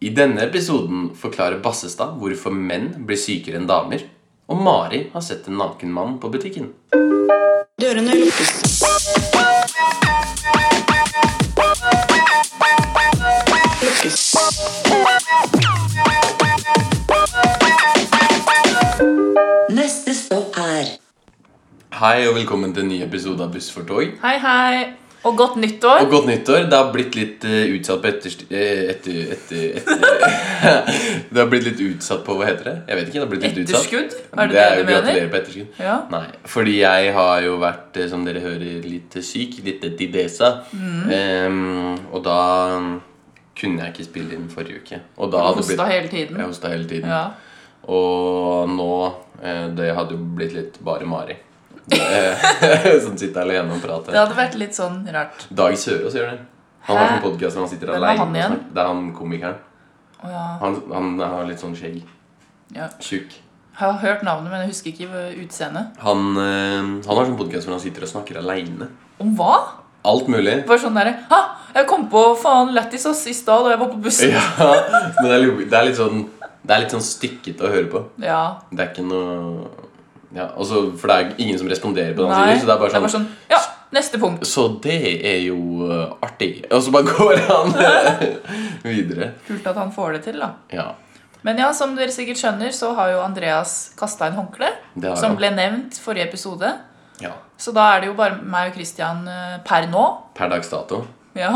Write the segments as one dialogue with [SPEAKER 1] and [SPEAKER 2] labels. [SPEAKER 1] I denne episoden forklarer Bassestad hvorfor menn blir sykere enn damer, og Mari har sett en naken mann på butikken.
[SPEAKER 2] Dørene lukkes. Lukkes.
[SPEAKER 3] Neste stopp er
[SPEAKER 1] Hei og velkommen til en ny episode av Buss for tog.
[SPEAKER 4] Hei, hei. Og godt nyttår.
[SPEAKER 1] Og godt nyttår. Det har blitt litt eh, utsatt på etterst... eh, Etter... etter, etter det har blitt litt utsatt på Hva heter det? Jeg vet ikke. det har blitt litt
[SPEAKER 4] Etterskudd?
[SPEAKER 1] Utsatt.
[SPEAKER 4] Er
[SPEAKER 1] det
[SPEAKER 4] det det
[SPEAKER 1] er
[SPEAKER 4] du
[SPEAKER 1] jo
[SPEAKER 4] mener?
[SPEAKER 1] gratulerer på etterskudd.
[SPEAKER 4] Ja.
[SPEAKER 1] Nei, fordi jeg har jo vært, eh, som dere hører, litt syk. Litt tidesa.
[SPEAKER 4] Mm.
[SPEAKER 1] Ehm, og da kunne jeg ikke spille inn forrige uke. Og da hadde det
[SPEAKER 4] Hosta
[SPEAKER 1] blitt
[SPEAKER 4] hele tiden.
[SPEAKER 1] Jeg hosta hele tiden.
[SPEAKER 4] Mm. Ja.
[SPEAKER 1] Og nå eh, Det hadde jo blitt litt bare Mari. Det- eh, Som sitter alene og prater.
[SPEAKER 4] Det hadde vært litt sånn rart.
[SPEAKER 1] Dag Sørås gjør det. Han har
[SPEAKER 4] Hæ?
[SPEAKER 1] sånn podkast hvor han sitter
[SPEAKER 4] Hvem er
[SPEAKER 1] alene
[SPEAKER 4] han
[SPEAKER 1] og
[SPEAKER 4] igjen?
[SPEAKER 1] snakker. Det er han komikeren.
[SPEAKER 4] Å ja.
[SPEAKER 1] Han, han har litt sånn skjegg.
[SPEAKER 4] Ja.
[SPEAKER 1] Tjukk.
[SPEAKER 4] Jeg har hørt navnet, men jeg husker ikke hvor- utseendet.
[SPEAKER 1] Han, eh, han har sånn podkast hvor han sitter og snakker aleine.
[SPEAKER 4] Om hva?
[SPEAKER 1] Alt mulig.
[SPEAKER 4] Bare sånn derre Ha! Jeg kom på faen lættis ass i stad da jeg var på bussen.
[SPEAKER 1] Ja, men det er, litt- det er litt sånn Det er litt sånn stykkete å høre på.
[SPEAKER 4] Ja.
[SPEAKER 1] Det er ikke noe ja, altså, For det er ingen som responderer på det han
[SPEAKER 4] Nei.
[SPEAKER 1] sier. Så det er bare sånn,
[SPEAKER 4] Ja, neste punkt.
[SPEAKER 1] Så det er jo eh, artig. Og så bare går han videre.
[SPEAKER 4] Kult at han får det til, da.
[SPEAKER 1] Ja.
[SPEAKER 4] Men ja, som dere sikkert skjønner, så har jo Andreas kasta inn håndkle.
[SPEAKER 1] Det har
[SPEAKER 4] Som
[SPEAKER 1] han.
[SPEAKER 4] ble nevnt forrige episode.
[SPEAKER 1] Ja.
[SPEAKER 4] Så da er det jo bare meg og Christian eh, per nå.
[SPEAKER 1] Per dags dato.
[SPEAKER 4] Ja,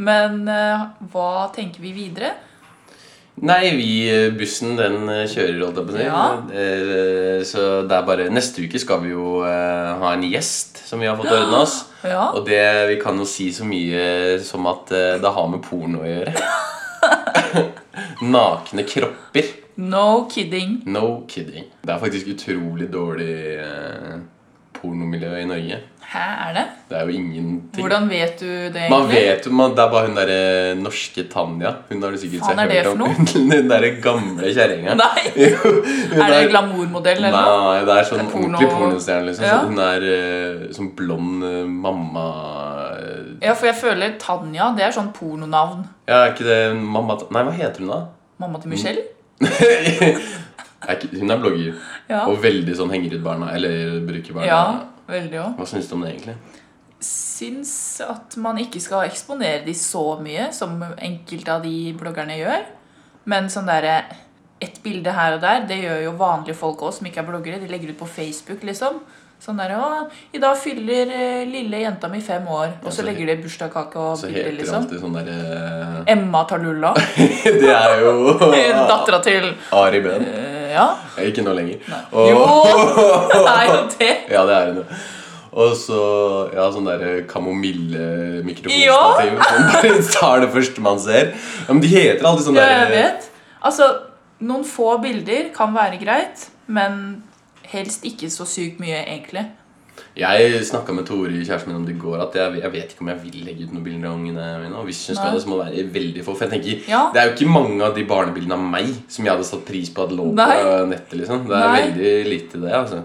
[SPEAKER 4] men eh, hva tenker vi videre?
[SPEAKER 1] Nei, vi, eh, bussen den eh, kjører, holdt jeg på å si.
[SPEAKER 4] Ja.
[SPEAKER 1] Eh, Så det er bare Neste uke skal vi jo eh, ha en gjest som vi har fått ordna oss.
[SPEAKER 4] Ja.
[SPEAKER 1] Og det, vi kan jo si så mye som at eh, det har med porno å gjøre. Nakne kropper.
[SPEAKER 4] No kidding.
[SPEAKER 1] No kidding. Det er faktisk utrolig dårlig eh, pornomiljø i Norge.
[SPEAKER 4] Hæ, er det?
[SPEAKER 1] Det er jo ingenting.
[SPEAKER 4] Hvordan vet du det?
[SPEAKER 1] Man
[SPEAKER 4] egentlig?
[SPEAKER 1] vet jo, man, Det er bare hun derre norske Tanja. Hun har du sikkert
[SPEAKER 4] Faen, er det
[SPEAKER 1] hørt
[SPEAKER 4] for noe?
[SPEAKER 1] Hun, hun derre gamle kjerringa.
[SPEAKER 4] Nei,
[SPEAKER 1] Jo, hun
[SPEAKER 4] Er det en glamourmodell
[SPEAKER 1] Nei,
[SPEAKER 4] eller noe?
[SPEAKER 1] nei, det er sånn
[SPEAKER 4] Det er porno-
[SPEAKER 1] ordentlig pornostjerne. Liksom.
[SPEAKER 4] Ja.
[SPEAKER 1] Så Hun er eh, sånn blond eh, mamma eh,
[SPEAKER 4] Ja, for jeg føler Tanja, det er sånn pornonavn.
[SPEAKER 1] Ja, er ikke det mamma Ta- Nei, hva heter hun da?
[SPEAKER 4] Mamma
[SPEAKER 1] Mm.
[SPEAKER 4] til Michelle?
[SPEAKER 1] Er ikke, hun er blogger
[SPEAKER 4] Ja.
[SPEAKER 1] og veldig sånn henger ut barna. Eller bruker barna.
[SPEAKER 4] Ja, veldig òg.
[SPEAKER 1] Hva syns du om det, egentlig?
[SPEAKER 4] Syns at man ikke skal eksponere de så mye som enkelte av de bloggerne gjør. Men sånn derre ett bilde her og der, det gjør jo vanlige folk òg som ikke er bloggere. De legger ut på Facebook, liksom. Sånn derre Å, i dag fyller eh, lille jenta mi fem år. Og
[SPEAKER 1] så
[SPEAKER 4] så
[SPEAKER 1] he-
[SPEAKER 4] legger de bursdagskake og
[SPEAKER 1] Så
[SPEAKER 4] bilder,
[SPEAKER 1] heter det
[SPEAKER 4] liksom.
[SPEAKER 1] alltid sånn derre eh,
[SPEAKER 4] Emma Talulla.
[SPEAKER 1] Det er jo
[SPEAKER 4] Dattera til
[SPEAKER 1] Ari Behn.
[SPEAKER 4] eh, Ja.
[SPEAKER 1] Ikke nå lenger. Og-
[SPEAKER 4] Jo! Det er jo det.
[SPEAKER 1] Ja, det er hun. jo. Og så ja, sånn derre kamomille-mikrofonstativ. Som bare tar det første man ser. Ja, men De heter alltid sånn
[SPEAKER 4] Ja,
[SPEAKER 1] der
[SPEAKER 4] jeg vet. Altså, noen få bilder kan være greit, men helst ikke så sykt mye, egentlig.
[SPEAKER 1] Jeg snakka med Tori, kjæresten min, om det i går at jeg, jeg vet ikke om jeg vil legge ut noen bilder av ungene mine. Og hvis hun skal
[SPEAKER 4] Nei.
[SPEAKER 1] det, så må det være veldig få. For jeg tenker,
[SPEAKER 4] Ja.
[SPEAKER 1] Det er jo ikke mange av de barnebildene av meg som jeg hadde satt pris på at lå på
[SPEAKER 4] Nei.
[SPEAKER 1] nettet. liksom Det er
[SPEAKER 4] Nei.
[SPEAKER 1] veldig lite det, altså.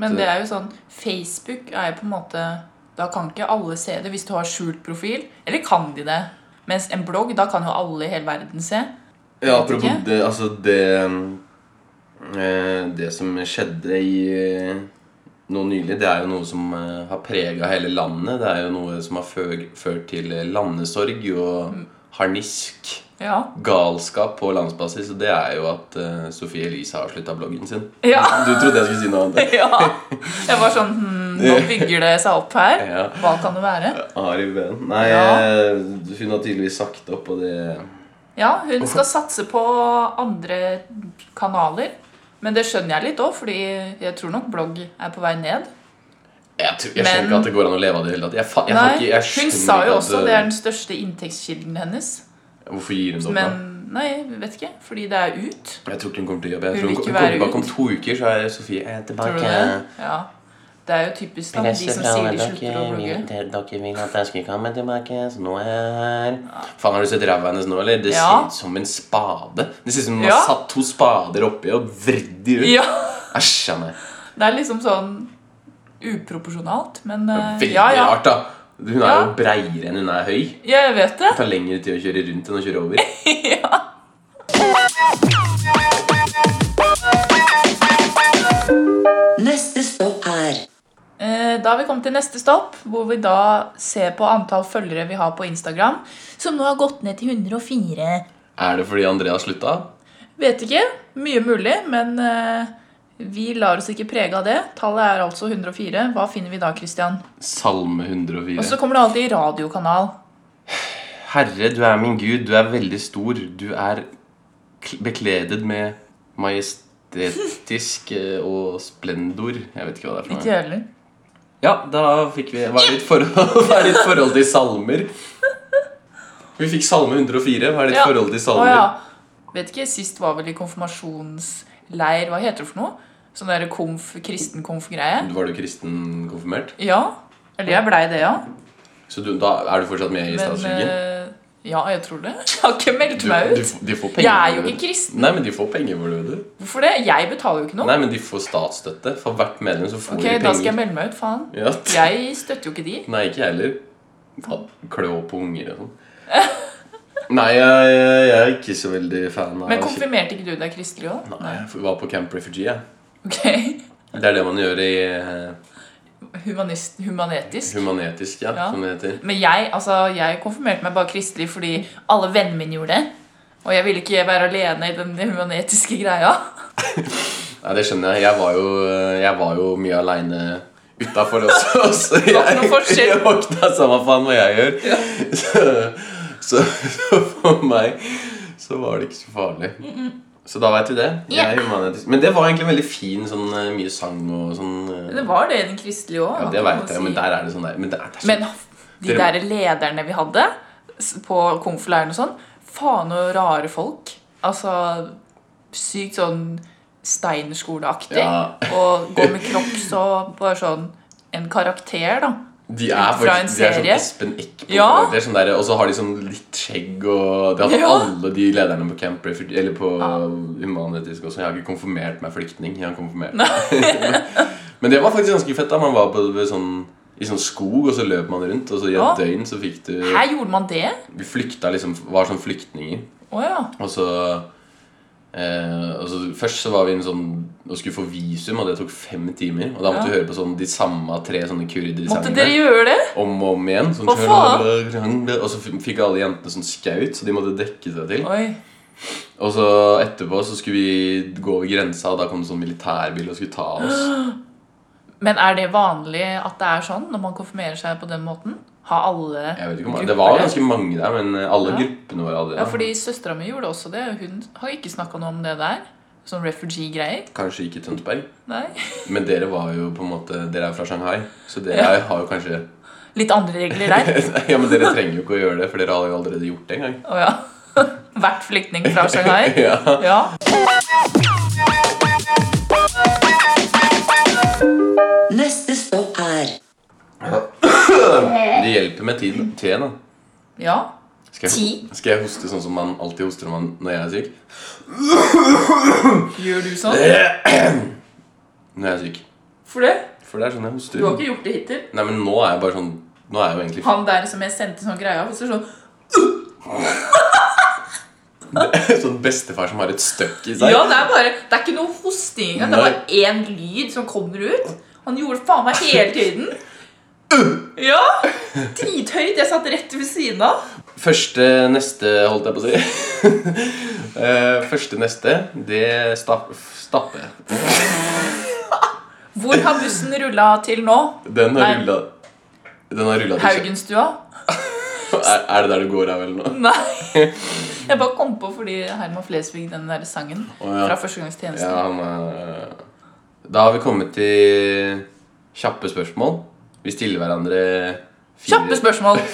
[SPEAKER 4] Men
[SPEAKER 1] Så-
[SPEAKER 4] det er jo sånn Facebook er jo på en måte Da kan ikke alle se det hvis du har skjult profil. Eller kan de det? Mens en blogg, da kan jo alle i hele verden se.
[SPEAKER 1] Ja,
[SPEAKER 4] Vet
[SPEAKER 1] apropos
[SPEAKER 4] ikke.
[SPEAKER 1] det, altså det eh, Det som skjedde i eh, noe nylig, det er jo noe som eh, har prega hele landet. Det er jo noe som har fø- ført til eh, landesorg og harnisk
[SPEAKER 4] Ja.
[SPEAKER 1] galskap på landsbasis. Og det er jo at eh, Sophie Elise har slutta bloggen sin.
[SPEAKER 4] Ja.
[SPEAKER 1] Du trodde jeg skulle si noe annet.
[SPEAKER 4] ja. Jeg var sånn hm, Nå bygger det seg opp her.
[SPEAKER 1] Ja.
[SPEAKER 4] Hva kan det være?
[SPEAKER 1] Ari Behn. Nei,
[SPEAKER 4] Ja.
[SPEAKER 1] eh, hun har tydeligvis sagt opp, og det
[SPEAKER 4] Ja, hun skal satse på andre kanaler. Men det skjønner jeg litt òg, fordi jeg tror nok blogg er på vei ned.
[SPEAKER 1] Jeg, tror, jeg
[SPEAKER 4] Men-
[SPEAKER 1] skjønner ikke at det går an å leve av det i det hele tatt. Jeg, fa- jeg, har ikke-
[SPEAKER 4] Nei,
[SPEAKER 1] jeg
[SPEAKER 4] hun
[SPEAKER 1] skjønner
[SPEAKER 4] sa
[SPEAKER 1] ikke
[SPEAKER 4] jo
[SPEAKER 1] at
[SPEAKER 4] også det er den største inntektskilden hennes.
[SPEAKER 1] Hvorfor gir hun det opp? da?
[SPEAKER 4] Men nei, jeg vet ikke. Fordi det er ut.
[SPEAKER 1] Jeg tror ikke hun kommer til å jobbe. Jeg
[SPEAKER 4] Hun
[SPEAKER 1] tror hun,
[SPEAKER 4] vil ikke
[SPEAKER 1] hun kommer
[SPEAKER 4] være
[SPEAKER 1] tilbake om
[SPEAKER 4] ut.
[SPEAKER 1] to uker, så er Sofie jeg er
[SPEAKER 4] Tror
[SPEAKER 1] tilbake.
[SPEAKER 4] du det? Ja. Det er jo typisk da, de
[SPEAKER 1] Presset
[SPEAKER 4] som
[SPEAKER 1] fra
[SPEAKER 4] sier de
[SPEAKER 1] dere,
[SPEAKER 4] slutter å blogge.
[SPEAKER 1] vil- dere vil at jeg skulle komme tilbake, så nå er jeg her. Faen, har du sett ræva hennes nå, eller? Det
[SPEAKER 4] Ja.
[SPEAKER 1] ser ut som en spade. Det ser ut som hun
[SPEAKER 4] Ja.
[SPEAKER 1] har satt to spader oppi og vridd de ut.
[SPEAKER 4] Ja,
[SPEAKER 1] Æsj a meg.
[SPEAKER 4] Det er liksom sånn uproporsjonalt, men eh,
[SPEAKER 1] Veldig
[SPEAKER 4] ja, ja.
[SPEAKER 1] rart, da. Hun er jo
[SPEAKER 4] Ja.
[SPEAKER 1] breiere enn hun er høy.
[SPEAKER 4] Ja, jeg vet det.
[SPEAKER 1] Det tar lengre tid å kjøre rundt enn å kjøre over.
[SPEAKER 4] Ja. Eh, da har vi kommet til neste stopp, hvor vi da ser på antall følgere vi har på Instagram, som nå har gått ned til 104.
[SPEAKER 1] Er det fordi Andrea slutta?
[SPEAKER 4] Vet ikke. Mye mulig, men eh, vi lar oss ikke prege av det. Tallet er altså 104. Hva finner vi da, Christian?
[SPEAKER 1] Salme 104.
[SPEAKER 4] Og så kommer det alltid radiokanal.
[SPEAKER 1] Herre, du er min Gud, du er veldig stor. Du er kl- bekledet med majestetisk eh, og splendor. Jeg vet ikke hva det er for
[SPEAKER 4] Litt
[SPEAKER 1] noe.
[SPEAKER 4] jævlig.
[SPEAKER 1] Ja, da fikk vi Hva er ditt forhold, hva er ditt forhold til salmer? Vi fikk salme 104. Hva er ditt
[SPEAKER 4] Ja.
[SPEAKER 1] forhold til
[SPEAKER 4] Å
[SPEAKER 1] salmer?
[SPEAKER 4] ja. Vet ikke, sist var vel i konfirmasjonsleir. Hva heter det for noe? Sånn der konf, kristenkonf-greie.
[SPEAKER 1] Var du kristen konfirmert?
[SPEAKER 4] Ja. Eller jeg blei det, ja.
[SPEAKER 1] Så du, da er du fortsatt med i
[SPEAKER 4] Men
[SPEAKER 1] statskirken?
[SPEAKER 4] eh, Ja, jeg tror det. Jeg har ikke meldt
[SPEAKER 1] Du,
[SPEAKER 4] meg
[SPEAKER 1] du,
[SPEAKER 4] ut.
[SPEAKER 1] de får penger.
[SPEAKER 4] Jeg er jo
[SPEAKER 1] for det.
[SPEAKER 4] ikke kristen.
[SPEAKER 1] Nei, men de får penger for det. vet du.
[SPEAKER 4] Hvorfor det? Jeg betaler jo ikke noe.
[SPEAKER 1] Nei, men de får statsstøtte. For hvert medlem så får
[SPEAKER 4] Ok,
[SPEAKER 1] de penger.
[SPEAKER 4] Da skal jeg melde meg ut, faen.
[SPEAKER 1] Ja.
[SPEAKER 4] Jeg støtter jo ikke de.
[SPEAKER 1] Nei, ikke jeg heller. Faen, Klø på unger og sånn. Nei, jeg, jeg, jeg er ikke så veldig fan av
[SPEAKER 4] Men konfirmerte ikke du deg kristelig òg?
[SPEAKER 1] altså- Nei, jeg var på Camp Refugee, jeg.
[SPEAKER 4] Ok.
[SPEAKER 1] Det er det man gjør i eh,
[SPEAKER 4] Humanist, humanetisk.
[SPEAKER 1] humanetisk, ja,
[SPEAKER 4] Ja.
[SPEAKER 1] som det heter.
[SPEAKER 4] Men jeg, altså, jeg konfirmerte meg bare kristelig fordi alle vennene mine gjorde det. Og jeg ville ikke være alene i den humanetiske greia.
[SPEAKER 1] Nei, det skjønner jeg. Jeg var jo, jeg var jo mye aleine utafor også. Så jeg,
[SPEAKER 4] var ikke noe forskjell.
[SPEAKER 1] jeg våkna samme faen hva jeg gjør. Så, så, så for meg så var det ikke så farlig. Så da veit vi det. Jeg er humanetisk. Men det var egentlig veldig fin sånn eh, mye sang og sånn eh,
[SPEAKER 4] Det var det i den kristelige òg.
[SPEAKER 1] Ja, det vet jeg, men der er det sånn der. Men det er, det er så-
[SPEAKER 4] Men de
[SPEAKER 1] Dere-
[SPEAKER 4] der lederne vi hadde s- på konfirmasjonen og sånn Faen og rare folk. Altså sykt sånn Steinerskoleaktig.
[SPEAKER 1] Ja.
[SPEAKER 4] Og går med crocs og bare sånn En karakter, da.
[SPEAKER 1] de er
[SPEAKER 4] fra
[SPEAKER 1] faktisk de er
[SPEAKER 4] en
[SPEAKER 1] sånn
[SPEAKER 4] serie.
[SPEAKER 1] Espen Eckbo.
[SPEAKER 4] Ja.
[SPEAKER 1] Det er sånn der, og så har de sånn litt skjegg og Det har
[SPEAKER 4] Ja.
[SPEAKER 1] alle de lederne på Camp Rayford Eller på Human-Etisk også. Jeg har ikke konfirmert meg flyktning. Jeg har konfirmert Men det var faktisk ganske fett. da Man var på ved sånn i sånn skog, og så løp man rundt. Og så i
[SPEAKER 4] Ja.
[SPEAKER 1] et døgn så fikk du
[SPEAKER 4] Her gjorde man det?
[SPEAKER 1] Vi flykta liksom, var sånn flyktninger.
[SPEAKER 4] Å ja.
[SPEAKER 1] Og så, eh, og så Først så var vi i en sånn og skulle få visum, og det tok fem timer. Og da måtte
[SPEAKER 4] Ja.
[SPEAKER 1] vi høre på sånn de samme tre sånne
[SPEAKER 4] Måtte dere
[SPEAKER 1] kurdersangene
[SPEAKER 4] gjøre det?
[SPEAKER 1] om og om igjen. Sånn,
[SPEAKER 4] Hva
[SPEAKER 1] Og så f- fikk alle jentene sånn skaut, så de måtte dekke seg til.
[SPEAKER 4] Oi.
[SPEAKER 1] Og så etterpå så skulle vi gå over grensa, og da kom det sånn militærbil og skulle ta oss.
[SPEAKER 4] Men er det vanlig at det er sånn når man konfirmerer seg på den måten? Har alle
[SPEAKER 1] Jeg vet ikke om,
[SPEAKER 4] grupper
[SPEAKER 1] Det var ganske mange der, men eh, alle gruppene våre hadde det.
[SPEAKER 4] Ja, fordi søstera mi gjorde også det. og Hun har ikke snakka noe om det der. Sånn refugee-greier.
[SPEAKER 1] Kanskje ikke Tønsberg.
[SPEAKER 4] Nei.
[SPEAKER 1] Men dere var jo på en måte Dere er fra Shanghai, så dere
[SPEAKER 4] Ja.
[SPEAKER 1] har jo kanskje
[SPEAKER 4] Litt andre regler der.
[SPEAKER 1] Ja, men dere trenger jo ikke å gjøre det, for dere har jo allerede gjort det en gang.
[SPEAKER 4] Å ja. Vært flyktning fra Shanghai.
[SPEAKER 1] Ja.
[SPEAKER 4] Ja.
[SPEAKER 3] Neste stopp er
[SPEAKER 1] Det hjelper med tid. Te, da.
[SPEAKER 4] ja.
[SPEAKER 1] Skal jeg,
[SPEAKER 4] Ti.
[SPEAKER 1] skal jeg hoste sånn som man alltid hoster når, man, når jeg er syk?
[SPEAKER 4] Gjør du sånn?
[SPEAKER 1] Når jeg er syk.
[SPEAKER 4] For det?
[SPEAKER 1] For det er sånn jeg hoster.
[SPEAKER 4] Du har ikke gjort det hittil.
[SPEAKER 1] Nei, men nå er jeg bare sånn Nå er jeg jo egentlig
[SPEAKER 4] Han der som jeg sendte sånn greie av, så sånn
[SPEAKER 1] sånn bestefar som har et støkk i seg.
[SPEAKER 4] Ja, det er bare Det er ikke noe hosting engang. Det er bare én lyd som kommer ut. Han gjorde faen meg hele tiden. Ja! Drithøyt. Jeg satt rett ved siden av.
[SPEAKER 1] Første neste, holdt jeg på å si. Eh, Første neste, det stapp, stappe.
[SPEAKER 4] Hvor har bussen rulla til nå?
[SPEAKER 1] Den har
[SPEAKER 4] Nei.
[SPEAKER 1] rulla Den har rulla
[SPEAKER 4] Haugenstua?
[SPEAKER 1] Er, er det der du går av, eller noe?
[SPEAKER 4] Nei. Jeg bare kom på fordi Herman Flesvig, den der sangen
[SPEAKER 1] Å, ja.
[SPEAKER 4] fra
[SPEAKER 1] Ja,
[SPEAKER 4] førstegangstjenesten.
[SPEAKER 1] han er Da har vi kommet til kjappe spørsmål. Vi stiller hverandre fire,
[SPEAKER 4] Kjappe spørsmål.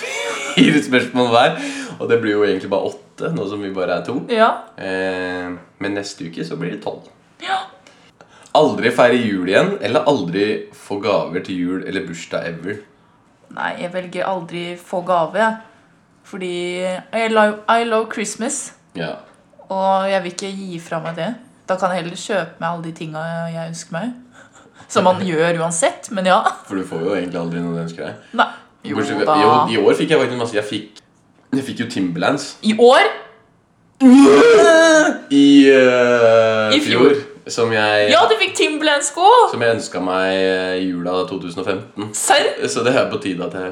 [SPEAKER 1] fire spørsmål hver. Og det blir jo egentlig bare åtte, nå som vi bare er to.
[SPEAKER 4] Ja.
[SPEAKER 1] Eh, men neste uke så blir det tolv.
[SPEAKER 4] ja.
[SPEAKER 1] Aldri feire jul igjen, eller aldri få gaver til jul eller bursdag ever.
[SPEAKER 4] Nei, jeg velger aldri få gave. jeg. Fordi I love, I love Christmas,
[SPEAKER 1] Ja.
[SPEAKER 4] og jeg vil ikke gi fra meg det. Da kan jeg heller kjøpe meg alle de tinga jeg ønsker meg. Som man gjør uansett, men ja.
[SPEAKER 1] For du får jo egentlig aldri noe du ønsker deg.
[SPEAKER 4] Nei. Jo
[SPEAKER 1] Bortsett-
[SPEAKER 4] da.
[SPEAKER 1] jo, I år fikk jeg faktisk masse. Jeg fikk, jeg fikk jo Timberlands
[SPEAKER 4] I år?
[SPEAKER 1] i, eh,
[SPEAKER 4] I fjor.
[SPEAKER 1] fjor. Som jeg,
[SPEAKER 4] Ja, du fikk Timberland-sko!
[SPEAKER 1] som jeg ønska meg eh, i jula 2015.
[SPEAKER 4] Serr?
[SPEAKER 1] Så det er på tide at jeg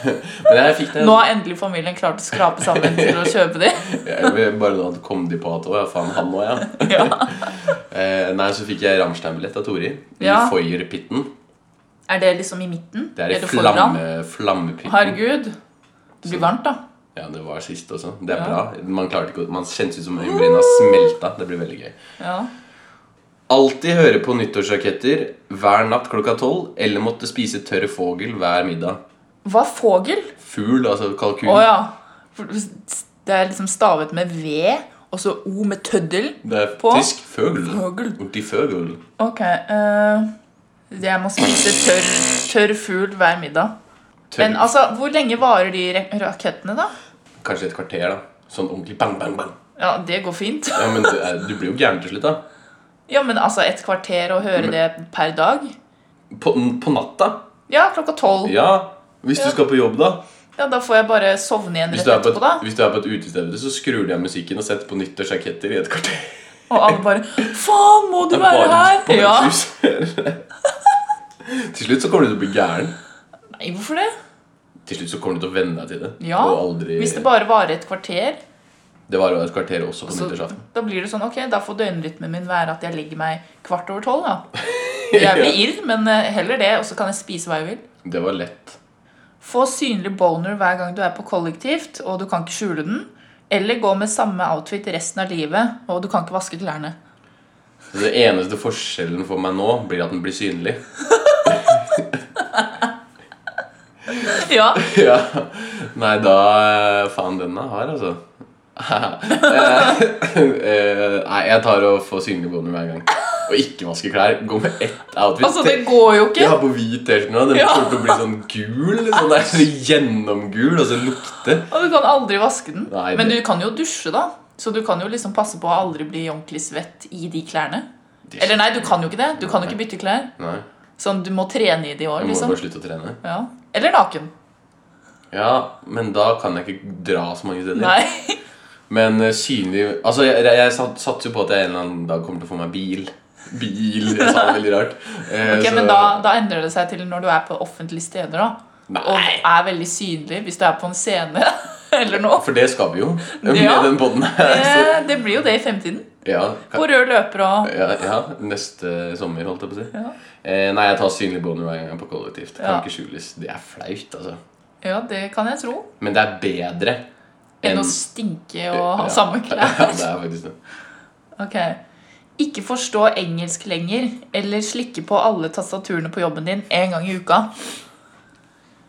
[SPEAKER 1] Men jeg fikk det.
[SPEAKER 4] Nå har endelig familien klart å skrape sammen til å kjøpe de.
[SPEAKER 1] Jeg vil bare da kom de på at Å ja, faen, han òg, ja.
[SPEAKER 4] Ja.
[SPEAKER 1] Eh, nei, så fikk jeg Rammstein-billett av Tori. I
[SPEAKER 4] Ja.
[SPEAKER 1] foyerpitten.
[SPEAKER 4] Er det liksom i midten?
[SPEAKER 1] Det er i
[SPEAKER 4] Eller foran?
[SPEAKER 1] flamme, flammepytten.
[SPEAKER 4] Herregud. Det blir varmt, da.
[SPEAKER 1] Ja, det var sist også. Det er
[SPEAKER 4] Ja.
[SPEAKER 1] bra. Man klarte ikke å- Man kjentes ut som øyenbryna smelta. Det blir veldig gøy.
[SPEAKER 4] Ja.
[SPEAKER 1] Alltid høre på nyttårsraketter hver natt klokka tolv, eller måtte spise tørr fogel hver middag.
[SPEAKER 4] Hva er fogel?
[SPEAKER 1] Fugl, altså kalkun.
[SPEAKER 4] Å ja. For Det er liksom stavet med V, og så O med tøddel.
[SPEAKER 1] Det er
[SPEAKER 4] På?
[SPEAKER 1] tysk føgel.
[SPEAKER 4] Føgel.
[SPEAKER 1] Orti føgel.
[SPEAKER 4] Ok. eh, jeg må spise tørr, tørr fugl hver middag.
[SPEAKER 1] Tørr.
[SPEAKER 4] Men altså, hvor lenge varer de ra- rakettene, da?
[SPEAKER 1] Kanskje et kvarter, da. Sånn ordentlig bang, bang, bang.
[SPEAKER 4] Ja, det går fint.
[SPEAKER 1] Ja, men du, er- du blir jo gæren til slutt, da.
[SPEAKER 4] Ja, men altså, et kvarter å høre det per dag?
[SPEAKER 1] På, på natta?
[SPEAKER 4] Ja, klokka tolv.
[SPEAKER 1] Ja. Hvis du
[SPEAKER 4] Ja.
[SPEAKER 1] skal på jobb, da.
[SPEAKER 4] Ja, da får jeg bare sovne igjen
[SPEAKER 1] Hvis
[SPEAKER 4] rett
[SPEAKER 1] du er på
[SPEAKER 4] etterpå, da.
[SPEAKER 1] et, hvis du er på et utested, vet du, så skrur de av musikken og setter på nyttårsraketter i et kvarter.
[SPEAKER 4] Og alle bare 'Faen, må du være
[SPEAKER 1] Bare på
[SPEAKER 4] her?' Ja.
[SPEAKER 1] brus. til slutt så kommer du til å bli gæren.
[SPEAKER 4] Nei, hvorfor det?
[SPEAKER 1] Til slutt så kommer du til å venne deg til det.
[SPEAKER 4] Ja,
[SPEAKER 1] Og aldri
[SPEAKER 4] Hvis det bare varer et kvarter,
[SPEAKER 1] Det var jo et kvarter også på
[SPEAKER 4] så
[SPEAKER 1] nyttårsaften.
[SPEAKER 4] da blir det sånn Ok, da får døgnrytmen min være at jeg legger meg kvart over tolv, da. Jeg blir irr, men eh, heller det, og så kan jeg spise hva jeg vil.
[SPEAKER 1] Det var lett.
[SPEAKER 4] Få synlig boner hver gang du er på kollektivt, og du kan ikke skjule den. Eller gå med samme outfit resten av livet, og du kan ikke vaske klærne.
[SPEAKER 1] Så det eneste forskjellen for meg nå blir at den blir synlig.
[SPEAKER 4] Ja,
[SPEAKER 1] ja. Nei, da eh, Faen, den er hard, altså. Eh, eh, Nei, jeg tar og får synlig boner hver gang. Og ikke vaske klær. Gå med ett outfit.
[SPEAKER 4] altså, det går jo
[SPEAKER 1] Jeg har
[SPEAKER 4] ikke.
[SPEAKER 1] på hvit T-skjorte nå. Den
[SPEAKER 4] Ja.
[SPEAKER 1] kommer til å bli sånn gul. Sånn der, så gjennomgul, og så lukte.
[SPEAKER 4] Og du kan aldri vaske den.
[SPEAKER 1] Nei,
[SPEAKER 4] Men du
[SPEAKER 1] det-
[SPEAKER 4] kan jo dusje, da. Så du kan jo liksom passe på å aldri bli ordentlig svett i de klærne. Eller nei, du kan jo ikke det. Du kan jo ikke bytte klær.
[SPEAKER 1] Nei,
[SPEAKER 4] Sånn, du må trene i de år,
[SPEAKER 1] Jeg må
[SPEAKER 4] liksom.
[SPEAKER 1] bare slutte å trene.
[SPEAKER 4] Ja. Eller naken.
[SPEAKER 1] Ja, Men da kan jeg ikke dra så mange steder.
[SPEAKER 4] Nei.
[SPEAKER 1] Men eh, synlig Altså, jeg, jeg, jeg sat- satser jo på at jeg en eller annen dag kommer til å få meg bil. Bil. Jeg sa det veldig rart. Eh,
[SPEAKER 4] Ok,
[SPEAKER 1] så-
[SPEAKER 4] men da, da endrer det seg til når du er på offentlige steder, da. Og
[SPEAKER 1] Nei.
[SPEAKER 4] er veldig synlig hvis du er på en scene eller noe.
[SPEAKER 1] For det skal vi jo med
[SPEAKER 4] Ja.
[SPEAKER 1] den podden her. Så,
[SPEAKER 4] Eh, Det blir jo det i fremtiden.
[SPEAKER 1] ja, ka-
[SPEAKER 4] På rød løper og
[SPEAKER 1] ja, ja, neste sommer, holdt jeg på å si.
[SPEAKER 4] Ja.
[SPEAKER 1] Eh, nei, jeg tar synlig boner hver gang jeg er på kollektivt. Det kan
[SPEAKER 4] Ja.
[SPEAKER 1] ikke skjules. Det er flaut, altså.
[SPEAKER 4] Ja, det kan jeg tro.
[SPEAKER 1] Men det er bedre
[SPEAKER 4] Enn å stinke og ha
[SPEAKER 1] Ja.
[SPEAKER 4] samme
[SPEAKER 1] Ja,
[SPEAKER 4] klær.
[SPEAKER 1] det er faktisk det.
[SPEAKER 4] Ok. Ikke forstå engelsk lenger, eller slikke på alle tastaturene på jobben din en gang i uka.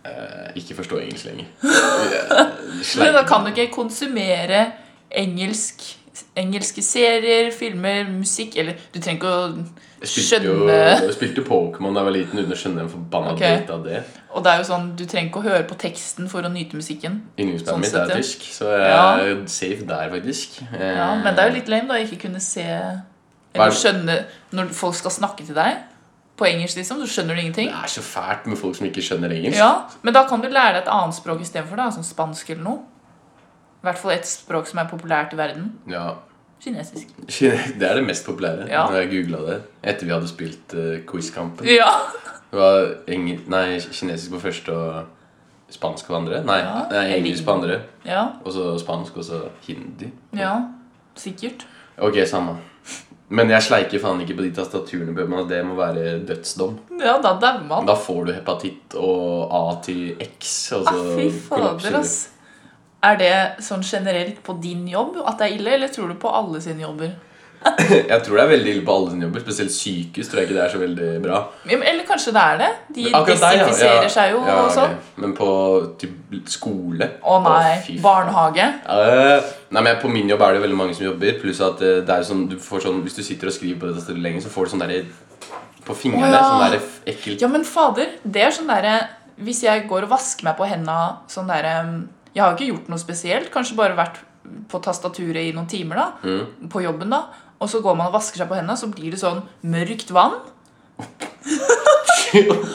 [SPEAKER 1] Eh, Ikke forstå engelsk lenger.
[SPEAKER 4] Men da kan du ikke konsumere engelsk, engelske serier, filmer, musikk Eller du trenger ikke å skjønne
[SPEAKER 1] Jeg spilte Pokémon da jeg var liten uten å skjønne en forbanna
[SPEAKER 4] Ok.
[SPEAKER 1] dritt av det.
[SPEAKER 4] Og det er jo sånn, du trenger ikke å høre på teksten for å nyte musikken.
[SPEAKER 1] Yndlingsbandet
[SPEAKER 4] Sånn
[SPEAKER 1] mitt
[SPEAKER 4] sett,
[SPEAKER 1] er
[SPEAKER 4] ja.
[SPEAKER 1] tysk, så jeg er safe der, faktisk. Eh,
[SPEAKER 4] Ja, men det er jo litt lame da å ikke kunne se
[SPEAKER 1] Hva er
[SPEAKER 4] Eller
[SPEAKER 1] det-
[SPEAKER 4] skjønne Når folk skal snakke til deg på engelsk, liksom, så skjønner du ingenting.
[SPEAKER 1] Det er så fælt med folk som ikke skjønner engelsk.
[SPEAKER 4] Ja, Men da kan du lære deg et annet språk istedenfor, sånn spansk eller noe. I hvert fall et språk som er populært i verden.
[SPEAKER 1] Ja.
[SPEAKER 4] Kinesisk.
[SPEAKER 1] Det er det mest populære.
[SPEAKER 4] Ja.
[SPEAKER 1] Når jeg googlet det Etter vi hadde spilt eh, quizkampen.
[SPEAKER 4] Ja,
[SPEAKER 1] Det var eng nei, kinesisk på første og spansk på andre. Nei,
[SPEAKER 4] Ja,
[SPEAKER 1] nei engelsk på andre,
[SPEAKER 4] ja,
[SPEAKER 1] og så spansk, og så hindi.
[SPEAKER 4] ja. Sikkert.
[SPEAKER 1] Ok, samme. Men jeg sleiker faen ikke på de tastaturene. på jobben, og Det må være dødsdom.
[SPEAKER 4] Ja, da dauer man.
[SPEAKER 1] Da får du hepatitt og A til X. Og så
[SPEAKER 4] Ah, fy
[SPEAKER 1] kollapser du.
[SPEAKER 4] fader, ass. Er det sånn generelt på din jobb at det er ille, eller tror du på alle sine jobber?
[SPEAKER 1] Jeg tror det er veldig ille på alle sine jobber. Spesielt sykehus tror jeg ikke det er så veldig bra.
[SPEAKER 4] Ja, men- Eller kanskje det er det? De
[SPEAKER 1] deg, ja.
[SPEAKER 4] desinfiserer
[SPEAKER 1] Ja,
[SPEAKER 4] seg jo
[SPEAKER 1] ja,
[SPEAKER 4] og
[SPEAKER 1] ok.
[SPEAKER 4] sånn.
[SPEAKER 1] Men på typ, skole
[SPEAKER 4] Å nei.
[SPEAKER 1] fy faen.
[SPEAKER 4] Barnehage.
[SPEAKER 1] Eh, nei, men På min jobb er det veldig mange som jobber. Pluss at eh, det er sånn, du får sånn, hvis du sitter og skriver på det tastaturet lenge, så får du sånn derre på fingrene.
[SPEAKER 4] Å, ja.
[SPEAKER 1] Sånn derre f- ekkelt
[SPEAKER 4] Ja, men fader, det er sånn derre Hvis jeg går og vasker meg på henda sånn derre Jeg har jo ikke gjort noe spesielt. Kanskje bare vært på tastaturet i noen timer, da.
[SPEAKER 1] Mm.
[SPEAKER 4] På jobben, da. Og så går man og vasker seg på henda, så blir det sånn mørkt vann.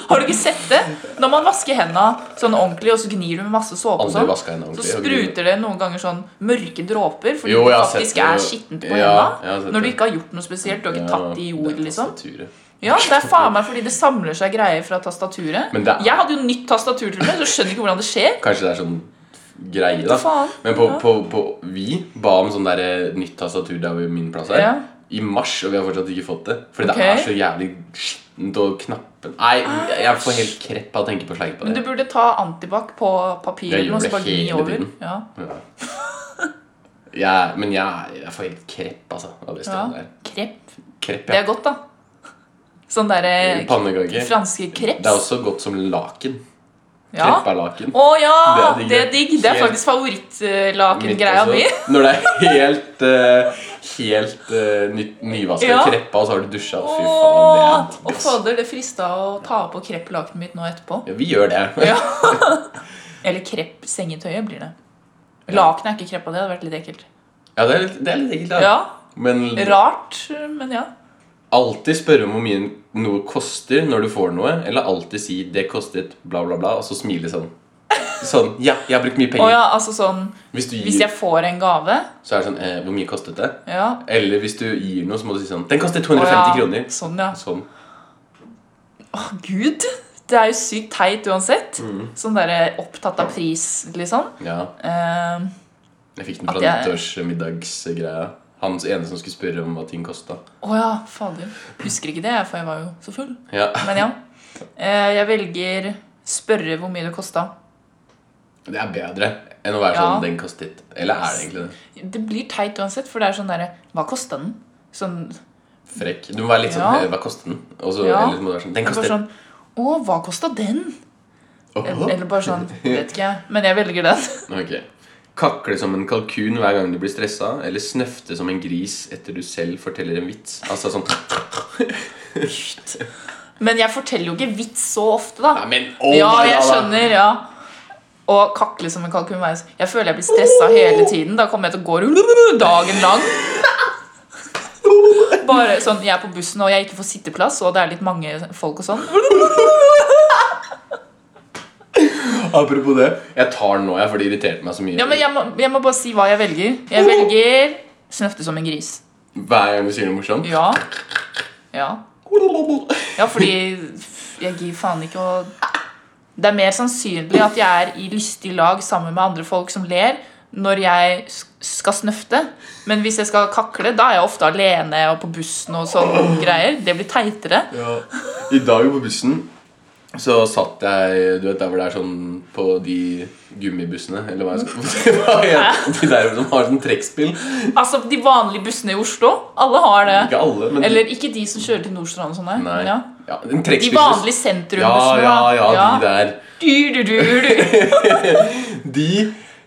[SPEAKER 4] Har du ikke sett det? Når man vasker hendene sånn ordentlig, og så gnir du med masse såpe, og
[SPEAKER 1] Aldri
[SPEAKER 4] sånn,
[SPEAKER 1] vasket hendene
[SPEAKER 4] så
[SPEAKER 1] ordentlig, og gnir.
[SPEAKER 4] spruter det noen ganger sånn mørke dråper fordi
[SPEAKER 1] Jo,
[SPEAKER 4] det
[SPEAKER 1] jeg har
[SPEAKER 4] faktisk
[SPEAKER 1] sett det,
[SPEAKER 4] er
[SPEAKER 1] jo.
[SPEAKER 4] skittent på
[SPEAKER 1] Ja, jeg har
[SPEAKER 4] hendene.
[SPEAKER 1] sett
[SPEAKER 4] Når du
[SPEAKER 1] det.
[SPEAKER 4] ikke har gjort noe spesielt, du har ikke tatt det i jord, liksom.
[SPEAKER 1] eh, tastaturet.
[SPEAKER 4] Ja, det er faen meg fordi det samler seg greier fra tastaturet.
[SPEAKER 1] Men det er-
[SPEAKER 4] Jeg hadde jo nytt tastatur til og med, så skjønner ikke hvordan det skjer.
[SPEAKER 1] Kanskje det er sånn greie, da.
[SPEAKER 4] faen.
[SPEAKER 1] Men på,
[SPEAKER 4] Ja.
[SPEAKER 1] på, på, vi ba om sånn der eh, nytt tastatur der hvor min plass er,
[SPEAKER 4] Ja.
[SPEAKER 1] i mars, og vi har fortsatt ikke fått det. Fordi
[SPEAKER 4] Ok.
[SPEAKER 1] det er så jævlig skittent og knappen Nei, jeg får helt krepp av å tenke på sleik på
[SPEAKER 4] Men du
[SPEAKER 1] det.
[SPEAKER 4] burde ta antibac på papir
[SPEAKER 1] Jeg
[SPEAKER 4] eller noe,
[SPEAKER 1] gjør
[SPEAKER 4] så bare
[SPEAKER 1] det
[SPEAKER 4] gni
[SPEAKER 1] hele
[SPEAKER 4] over.
[SPEAKER 1] tiden.
[SPEAKER 4] Ja.
[SPEAKER 1] Ja. Jeg, men jeg, jeg får helt krepp, altså. Av det
[SPEAKER 4] Ja.
[SPEAKER 1] stedet der.
[SPEAKER 4] Krepp.
[SPEAKER 1] Krepp,
[SPEAKER 4] Det
[SPEAKER 1] ja.
[SPEAKER 4] er godt, da. Sånn derre
[SPEAKER 1] Pannekake.
[SPEAKER 4] franske
[SPEAKER 1] Det er
[SPEAKER 4] kreps.
[SPEAKER 1] også godt som laken.
[SPEAKER 4] Ja.
[SPEAKER 1] Kreppa laken.
[SPEAKER 4] Å ja!
[SPEAKER 1] Det er digg,
[SPEAKER 4] Det er
[SPEAKER 1] det.
[SPEAKER 4] digg. Det er
[SPEAKER 1] Helt-
[SPEAKER 4] faktisk favorittlaken-greia mi.
[SPEAKER 1] også. Når det er helt eh, Helt eh, ny, nyvasket
[SPEAKER 4] Ja.
[SPEAKER 1] kreppa, og så har du dusja. Fy faen,
[SPEAKER 4] Åh,
[SPEAKER 1] det
[SPEAKER 4] Og
[SPEAKER 1] er digg. ass.
[SPEAKER 4] fader, det frista å ta på krepplakenet mitt nå etterpå.
[SPEAKER 1] Ja, vi gjør det.
[SPEAKER 4] Ja. Eller krepp-sengetøyet blir det. Lakenet er ikke kreppa, det hadde vært litt ekkelt.
[SPEAKER 1] Ja, det er litt, det er litt ekkelt, da.
[SPEAKER 4] Ja,
[SPEAKER 1] Men
[SPEAKER 4] Rart, men ja.
[SPEAKER 1] alltid spørre om hvor mye noe koster når du får noe, eller alltid si 'det kostet bla, bla, bla', og så smile sånn. Sånn 'ja, jeg har brukt mye
[SPEAKER 4] Å
[SPEAKER 1] penger'.
[SPEAKER 4] ja, altså sånn
[SPEAKER 1] Hvis du
[SPEAKER 4] Hvis
[SPEAKER 1] gir,
[SPEAKER 4] jeg får en gave
[SPEAKER 1] så er det sånn eh, 'hvor mye kostet det?'
[SPEAKER 4] Ja.
[SPEAKER 1] Eller hvis du gir noe, så må du si sånn 'den kostet
[SPEAKER 4] Å
[SPEAKER 1] 250
[SPEAKER 4] ja.
[SPEAKER 1] kroner'.
[SPEAKER 4] Sånn, ja.
[SPEAKER 1] Sånn.
[SPEAKER 4] Å, Gud! Det er jo sykt teit uansett.
[SPEAKER 1] Mm.
[SPEAKER 4] Sånn derre opptatt av pris, liksom.
[SPEAKER 1] Ja.
[SPEAKER 4] Eh,
[SPEAKER 1] Jeg fikk den fra
[SPEAKER 4] At jeg-
[SPEAKER 1] nyttårsmiddagsgreia. Han ene som skulle spørre om hva ting kosta.
[SPEAKER 4] Å ja, fader. Husker ikke det, for jeg var jo så full.
[SPEAKER 1] Ja.
[SPEAKER 4] Men ja. Eh, jeg velger spørre hvor mye det kosta.
[SPEAKER 1] Det er bedre enn å være
[SPEAKER 4] Ja.
[SPEAKER 1] sånn 'den kostet'. Eller er det egentlig det?
[SPEAKER 4] Det blir teit uansett, for det er sånn derre Hva kosta den? Sånn,
[SPEAKER 1] Frekk. Du må være litt sånn
[SPEAKER 4] Ja.
[SPEAKER 1] eh, 'hva kostet den?' Og så
[SPEAKER 4] Ja.
[SPEAKER 1] eller så må du være sånn 'den
[SPEAKER 4] bare
[SPEAKER 1] kostet'.
[SPEAKER 4] sånn Å, hva kosta den?
[SPEAKER 1] Åhå.
[SPEAKER 4] Eller bare sånn Vet ikke jeg, men jeg velger den.
[SPEAKER 1] Ok. Kakle som en kalkun hver gang du blir stressa, eller snøfte som en gris etter du selv forteller en vits. Altså sånn
[SPEAKER 4] Men jeg forteller jo ikke vits så ofte, da.
[SPEAKER 1] Nei, men oh
[SPEAKER 4] ja,
[SPEAKER 1] my
[SPEAKER 4] jeg
[SPEAKER 1] God, da.
[SPEAKER 4] skjønner, ja. Og kakle som en kalkun. hver- Jeg føler jeg blir stressa hele tiden. Da kommer jeg til å gå rullululu dagen lang. Bare sånn, Jeg er på bussen og jeg ikke får sitteplass, og det er litt mange folk og sånn.
[SPEAKER 1] Apropos det. Jeg tar den nå, jeg, for det irriterte meg så mye.
[SPEAKER 4] Ja, men jeg må, jeg må bare si hva jeg velger. Jeg velger snøfte som en gris.
[SPEAKER 1] Hver gang du sier noe morsomt.
[SPEAKER 4] Ja. Ja, ja fordi jeg gir faen ikke å Det er mer sannsynlig at jeg er i lystig lag sammen med andre folk som ler, når jeg s- skal snøfte. Men hvis jeg skal kakle, da er jeg ofte alene og på bussen og sånn greier. Det blir teitere.
[SPEAKER 1] Ja. I dag på bussen så satt jeg Du vet der hvor det er sånn på de gummibussene Eller hva jeg skal hva heter De der som har sånn trekkspill.
[SPEAKER 4] Altså, de vanlige bussene i Oslo, alle har det.
[SPEAKER 1] Ikke alle, men
[SPEAKER 4] Eller ikke de som kjører til Nordstrand og sånne.
[SPEAKER 1] Nei.
[SPEAKER 4] men
[SPEAKER 1] Ja.
[SPEAKER 4] Ja.
[SPEAKER 1] en
[SPEAKER 4] De
[SPEAKER 1] trekkspillbuss.
[SPEAKER 4] vanlige
[SPEAKER 1] ja,
[SPEAKER 4] sentrumbussene.
[SPEAKER 1] ja,
[SPEAKER 4] da.
[SPEAKER 1] ja, de der.
[SPEAKER 4] Du, du, du, du.
[SPEAKER 1] De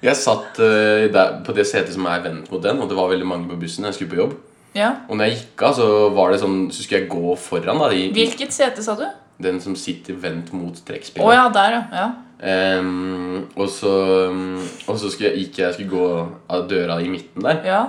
[SPEAKER 1] Jeg satt eh, der, på det setet som er vendt mot den, og det var veldig mange på bussen. Jeg skulle på jobb.
[SPEAKER 4] Ja.
[SPEAKER 1] Og når jeg gikk av, så var det sånn Så skulle jeg gå foran, da. i-
[SPEAKER 4] Hvilket sete, sa du?
[SPEAKER 1] Den som sitter vendt mot trekkspillet.
[SPEAKER 4] Å ja, der, ja. ja.
[SPEAKER 1] Ehm, og så, um, og så skulle jeg, gikk jeg skulle gå av døra i midten der.
[SPEAKER 4] ja.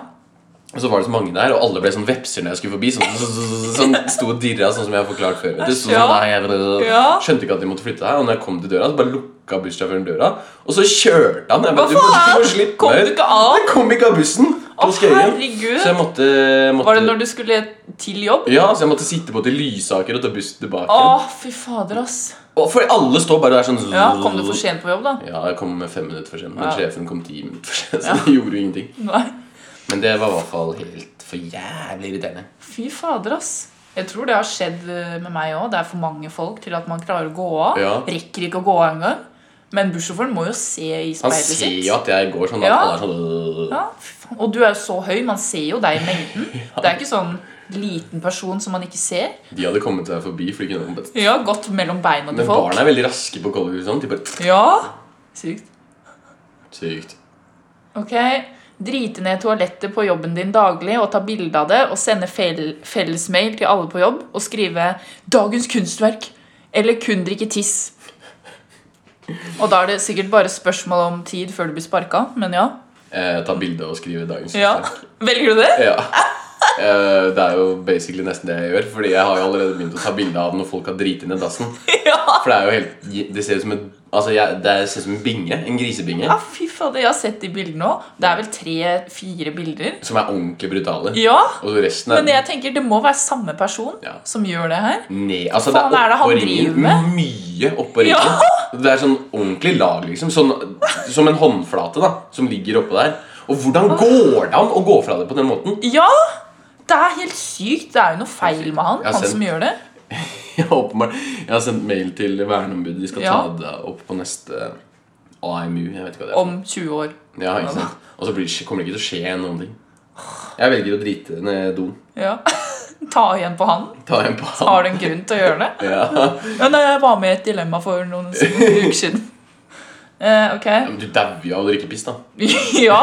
[SPEAKER 1] Og så var det så mange der, og alle ble sånn vepser når jeg skulle forbi. Sånn, sånn, sånn, sånn, sånn, sto og dirra, sånn som jeg har forklart før. Vet du. Sto sånn,
[SPEAKER 4] Ja.
[SPEAKER 1] "Nei, jeg- jeg- jeg-"
[SPEAKER 4] Ja.
[SPEAKER 1] Skjønte ikke at de måtte flytte her. Og når jeg kom til døra, så bare lukka bussjåføren døra. Og så kjørte han. Jeg
[SPEAKER 4] Hva
[SPEAKER 1] bare, du, må- du må
[SPEAKER 4] faen?
[SPEAKER 1] slippe
[SPEAKER 4] Kom
[SPEAKER 1] meg
[SPEAKER 4] du
[SPEAKER 1] ut.
[SPEAKER 4] ikke av?
[SPEAKER 1] Jeg kom ikke av bussen.
[SPEAKER 4] Å,
[SPEAKER 1] På Skøyen. Så jeg
[SPEAKER 4] herregud.
[SPEAKER 1] måtte, måtte
[SPEAKER 4] Var det når du skulle til jobb?
[SPEAKER 1] Ja, så jeg måtte sitte på til Lysaker og ta bussen tilbake.
[SPEAKER 4] Å, fy fader, ass.
[SPEAKER 1] Og for alle står bare der sånn
[SPEAKER 4] Ja, Kom du for sent på jobb, da?
[SPEAKER 1] Ja, jeg kom med fem minutter for sent, men
[SPEAKER 4] Ja.
[SPEAKER 1] sjefen kom ti minutter for sent. Så det gjorde jo ingenting.
[SPEAKER 4] Nei.
[SPEAKER 1] Men det var i hvert fall helt for jævlig irriterende.
[SPEAKER 4] Fy fader, ass. Jeg tror det har skjedd eh, med meg òg. Det er for mange folk til at man klarer å gå av.
[SPEAKER 1] Ja.
[SPEAKER 4] Rekker ikke å gå av engang. Men bussjåføren må jo se i
[SPEAKER 1] Han
[SPEAKER 4] speilet
[SPEAKER 1] ser
[SPEAKER 4] sitt.
[SPEAKER 1] jo at jeg går sånn. at
[SPEAKER 4] Ja.
[SPEAKER 1] alle er sånn
[SPEAKER 4] Ja, fy faen. Og du er jo så høy. Man ser jo deg i mengden. Det er ikke sånn liten person som man ikke ser.
[SPEAKER 1] øh." De hadde kommet seg forbi. For de kunne kommet.
[SPEAKER 4] Ja, Godt mellom beina til
[SPEAKER 1] Men
[SPEAKER 4] folk.
[SPEAKER 1] barna er veldig raske på kollektiv. Sånn. De bare
[SPEAKER 4] Ja, sykt.
[SPEAKER 1] Sykt.
[SPEAKER 4] Ok, drite ned toalettet på jobben din daglig og ta bilde av det og sende fel fellesmail til alle på jobb og skrive 'Dagens kunstverk' eller 'Kun drikke tiss'. Og da er det sikkert bare spørsmål om tid før du blir sparka, men ja.
[SPEAKER 1] Eh, ta bilde og skrive dagens
[SPEAKER 4] ja.
[SPEAKER 1] utslag.
[SPEAKER 4] Velger du det?
[SPEAKER 1] Ja. Eh, Det er jo basically nesten det jeg gjør. Fordi jeg har jo allerede begynt å ta bilde av når folk har driti ned dassen.
[SPEAKER 4] Ja!
[SPEAKER 1] For det er jo helt Det ser ut som en Altså, jeg, det ser ut som en binge. En grisebinge.
[SPEAKER 4] ja, Ah, fy fader, jeg har sett de bildene òg. Det er vel tre-fire bilder.
[SPEAKER 1] Som er ordentlig brutale.
[SPEAKER 4] Ja!
[SPEAKER 1] Og resten er
[SPEAKER 4] Men jeg tenker det må være samme person
[SPEAKER 1] Ja.
[SPEAKER 4] som gjør det her.
[SPEAKER 1] Nei, altså
[SPEAKER 4] Faen,
[SPEAKER 1] det
[SPEAKER 4] er
[SPEAKER 1] er
[SPEAKER 4] det han
[SPEAKER 1] oppå
[SPEAKER 4] driver
[SPEAKER 1] ringen.
[SPEAKER 4] med?
[SPEAKER 1] Mye oppå ringen. Det er sånn ordentlig lag, liksom. Sånn, som en håndflate da som ligger oppå der. Og hvordan går det an å gå fra det på den måten?
[SPEAKER 4] Ja! Det er helt sykt. Det er jo noe feil med han.
[SPEAKER 1] Jeg har
[SPEAKER 4] Han
[SPEAKER 1] sendt-
[SPEAKER 4] som gjør det.
[SPEAKER 1] Jeg, åpenbart, jeg har sendt mail til verneombudet. De skal
[SPEAKER 4] Ja.
[SPEAKER 1] ta det opp på neste AMU. Jeg vet ikke hva det er. for noe.
[SPEAKER 4] Om 20 år.
[SPEAKER 1] Ja, ikke sant? Og så blir, det- kommer det ikke til å skje noen ting. Jeg velger å drite ned doen.
[SPEAKER 4] Ja. Ta igjen på han.
[SPEAKER 1] Ta en på
[SPEAKER 4] Har du en grunn til å gjøre det?
[SPEAKER 1] Ja.
[SPEAKER 4] Ja, nei, jeg var med i et dilemma for noen uker siden. Eh, ok.
[SPEAKER 1] Ja, Men du dauer jo av å drikke piss, da.
[SPEAKER 4] Ja.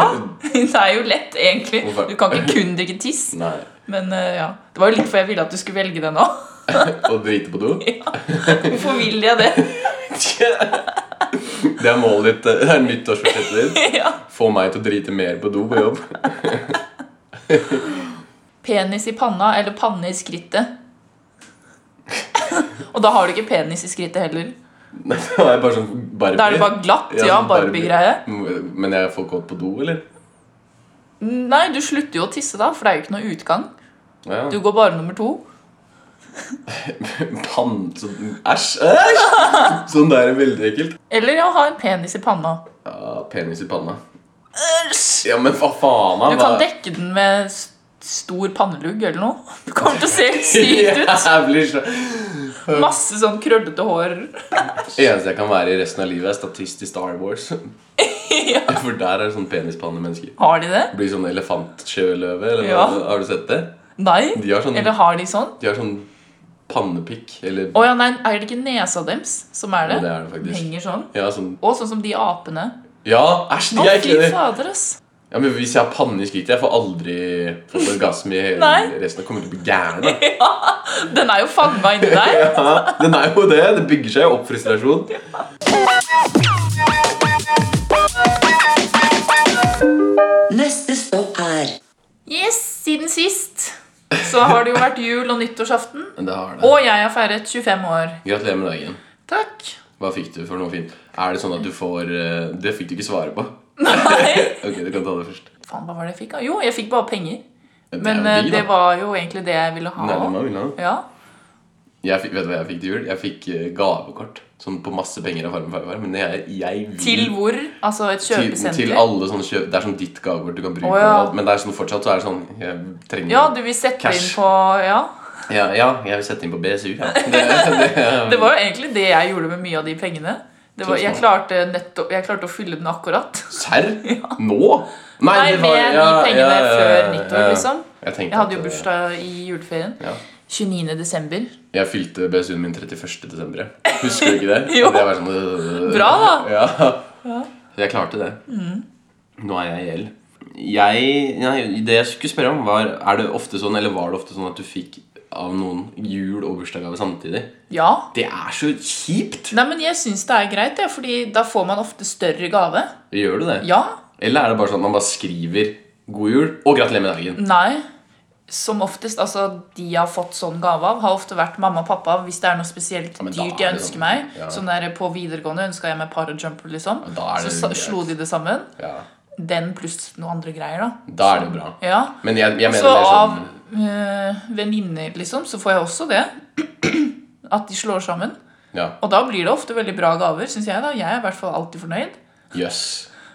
[SPEAKER 4] Det er jo lett, egentlig. Du kan ikke kun drikke tiss.
[SPEAKER 1] Nei.
[SPEAKER 4] Men eh, ja. Det var jo litt for jeg ville at du skulle velge det nå.
[SPEAKER 1] Å drite på do?
[SPEAKER 4] Hvorfor vil jeg det?
[SPEAKER 1] Det er målet ditt. eh, Det er nyttårsforsettet ditt.
[SPEAKER 4] Ja.
[SPEAKER 1] Få meg til å drite mer på do på jobb.
[SPEAKER 4] Penis i panna eller panne i skrittet? Og da har du ikke penis i skrittet heller.
[SPEAKER 1] Da er jeg bare sånn Barbie.
[SPEAKER 4] Da er det bare glatt.
[SPEAKER 1] Ja,
[SPEAKER 4] Ja,
[SPEAKER 1] sånn
[SPEAKER 4] Barbie-greie.
[SPEAKER 1] Men jeg får gått på do, eller?
[SPEAKER 4] Nei, du slutter jo å tisse da, for det er jo ikke noe utgang.
[SPEAKER 1] Ja.
[SPEAKER 4] Du går bare nummer to.
[SPEAKER 1] Pann... så- Æsj! Æsj! Sånn der er veldig ekkelt.
[SPEAKER 4] Eller ja, ha en penis i panna.
[SPEAKER 1] Ja, penis i panna.
[SPEAKER 4] Æsj!
[SPEAKER 1] Ja, men hva faen? da?
[SPEAKER 4] Du kan
[SPEAKER 1] Hva-
[SPEAKER 4] dekke den med s- stor pannelugg eller noe. Du kommer til å se helt sykt ut.
[SPEAKER 1] Jævlig svært.
[SPEAKER 4] Masse sånn krøllete hår.
[SPEAKER 1] Eneste jeg kan være i resten av livet, er statist i Star Wars. For der er det sånn penispannemennesker.
[SPEAKER 4] Har de det?
[SPEAKER 1] Blir sånn elefantsjøløve, eller
[SPEAKER 4] Ja.
[SPEAKER 1] hva? Har du sett det?
[SPEAKER 4] Nei?
[SPEAKER 1] De har sånn-
[SPEAKER 4] Eller har de sånn?
[SPEAKER 1] De har sånn pannepikk, eller
[SPEAKER 4] Å ja, nei, er det ikke nesa deres som er det?
[SPEAKER 1] Ja, det er det faktisk.
[SPEAKER 4] Den Henger sånn.
[SPEAKER 1] Ja, sånn
[SPEAKER 4] Og sånn som de apene.
[SPEAKER 1] Ja, æsj,
[SPEAKER 4] Å,
[SPEAKER 1] de er
[SPEAKER 4] fy
[SPEAKER 1] ikke det.
[SPEAKER 4] fader, ass.
[SPEAKER 1] Ja, men Hvis jeg har panne i skrittet Jeg får aldri fått orgasme i hele
[SPEAKER 4] Nei.
[SPEAKER 1] resten. Jeg kommer til å bli gæren. da.
[SPEAKER 4] Den er jo fanga inni deg.
[SPEAKER 1] Ja, den er jo det. Det bygger seg jo opp frustrasjon.
[SPEAKER 3] Neste stopp er
[SPEAKER 4] Yes, siden sist så har det jo vært jul og nyttårsaften.
[SPEAKER 1] Men det har det.
[SPEAKER 4] Og jeg har feiret 25 år.
[SPEAKER 1] Gratulerer med dagen.
[SPEAKER 4] Takk.
[SPEAKER 1] Hva fikk du for noe fint? Er det sånn at du får eh, Det fikk du ikke svare på.
[SPEAKER 4] Nei.
[SPEAKER 1] Ok, du kan ta det først.
[SPEAKER 4] Faen, hva var det jeg fikk? da? Jo, jeg fikk bare penger.
[SPEAKER 1] Det er
[SPEAKER 4] Men
[SPEAKER 1] jo
[SPEAKER 4] eh,
[SPEAKER 1] de,
[SPEAKER 4] det
[SPEAKER 1] da.
[SPEAKER 4] var jo egentlig det jeg ville ha.
[SPEAKER 1] Nærmere meg, vil jeg ha.
[SPEAKER 4] Ja.
[SPEAKER 1] Jeg fikk, vet du hva jeg fikk til jul? Jeg fikk eh, gavekort sånn på masse penger av Farmen Farmar. Men jeg, jeg vil
[SPEAKER 4] Til hvor? Altså
[SPEAKER 1] Mm.
[SPEAKER 4] et
[SPEAKER 1] til, til
[SPEAKER 4] kjøpesenter?
[SPEAKER 1] alle sånne kjøp Det er sånn ditt gavekort du kan bruke.
[SPEAKER 4] Å, ja.
[SPEAKER 1] og alt, Men det er sånn fortsatt så er det sånn Jeg trenger
[SPEAKER 4] Ja, du vil sette
[SPEAKER 1] Cash.
[SPEAKER 4] inn på Ja.
[SPEAKER 1] Ja, ja, jeg vil sette inn på BSU. Ja. Det, det,
[SPEAKER 4] Det var jo egentlig det jeg gjorde med mye av de pengene. Det var, jeg,
[SPEAKER 1] Tusen
[SPEAKER 4] klarte nettopp, jeg klarte å fylle den akkurat.
[SPEAKER 1] serr? Nå? Nei,
[SPEAKER 4] Nei,
[SPEAKER 1] det var-
[SPEAKER 4] med de
[SPEAKER 1] ja,
[SPEAKER 4] pengene
[SPEAKER 1] ja, ja,
[SPEAKER 4] før
[SPEAKER 1] ja,
[SPEAKER 4] nyttår,
[SPEAKER 1] ja.
[SPEAKER 4] liksom.
[SPEAKER 1] Jeg, tenkte
[SPEAKER 4] Jeg hadde
[SPEAKER 1] at,
[SPEAKER 4] jo
[SPEAKER 1] eh,
[SPEAKER 4] bursdag i juleferien.
[SPEAKER 1] Ja.
[SPEAKER 4] 29. desember.
[SPEAKER 1] Jeg fylte BSU-en min 31. desember. jeg. Husker du ikke det?
[SPEAKER 4] Jo.
[SPEAKER 1] Det var sånn, øh,
[SPEAKER 4] Bra, da. Mm.
[SPEAKER 1] Ja. Så jeg klarte det. Nå er jeg i gjeld. Jeg, nei, det jeg skulle spørre om, var Er det ofte sånn, eller var det ofte sånn at du fikk av noen jul- og bursdagsgave samtidig?
[SPEAKER 4] Ja.
[SPEAKER 1] Det er så kjipt!
[SPEAKER 4] Nei, men jeg syns det er greit, ja, fordi da får man ofte større gave.
[SPEAKER 1] Gjør du det?
[SPEAKER 4] Ja.
[SPEAKER 1] Eller er det bare sånn at man bare skriver 'God jul' og 'Gratulerer med dagen'?
[SPEAKER 4] Nei. Som oftest, altså de jeg har fått sånn gave av, har ofte vært mamma og pappa hvis det er noe spesielt
[SPEAKER 1] men da
[SPEAKER 4] dyrt
[SPEAKER 1] er det
[SPEAKER 4] jeg ønsker
[SPEAKER 1] sånn,
[SPEAKER 4] meg.
[SPEAKER 1] ja.
[SPEAKER 4] Sånn der På videregående ønska jeg meg parajumper, liksom.
[SPEAKER 1] Ja, da er
[SPEAKER 4] Så
[SPEAKER 1] det
[SPEAKER 4] sa-
[SPEAKER 1] greit.
[SPEAKER 4] slo de det sammen.
[SPEAKER 1] Ja.
[SPEAKER 4] Den pluss noen andre greier, da.
[SPEAKER 1] Da er det jo bra.
[SPEAKER 4] Ja.
[SPEAKER 1] Men jeg, jeg mener
[SPEAKER 4] Så
[SPEAKER 1] mer
[SPEAKER 4] av
[SPEAKER 1] sånn
[SPEAKER 4] øh, venninner, liksom, så får jeg også det. At de slår sammen.
[SPEAKER 1] Ja,
[SPEAKER 4] Og da blir det ofte veldig bra gaver, syns jeg. da Jeg er i hvert fall alltid fornøyd.
[SPEAKER 1] Jøss.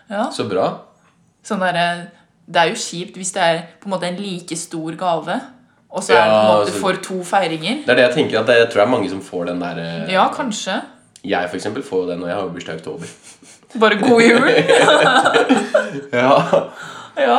[SPEAKER 4] Ja.
[SPEAKER 1] Så bra.
[SPEAKER 4] Sånn der, det er jo kjipt hvis det er på en måte en like stor gave, og så
[SPEAKER 1] Ja,
[SPEAKER 4] er det på en måte
[SPEAKER 1] altså-
[SPEAKER 4] for to feiringer.
[SPEAKER 1] Det er det jeg tenker at det, jeg tror det er mange som får den der eh,
[SPEAKER 4] Ja, kanskje.
[SPEAKER 1] Jeg for eksempel får jo den når jeg har jo bursdag i oktober.
[SPEAKER 4] Bare god jul.
[SPEAKER 1] Ja.
[SPEAKER 4] Ja.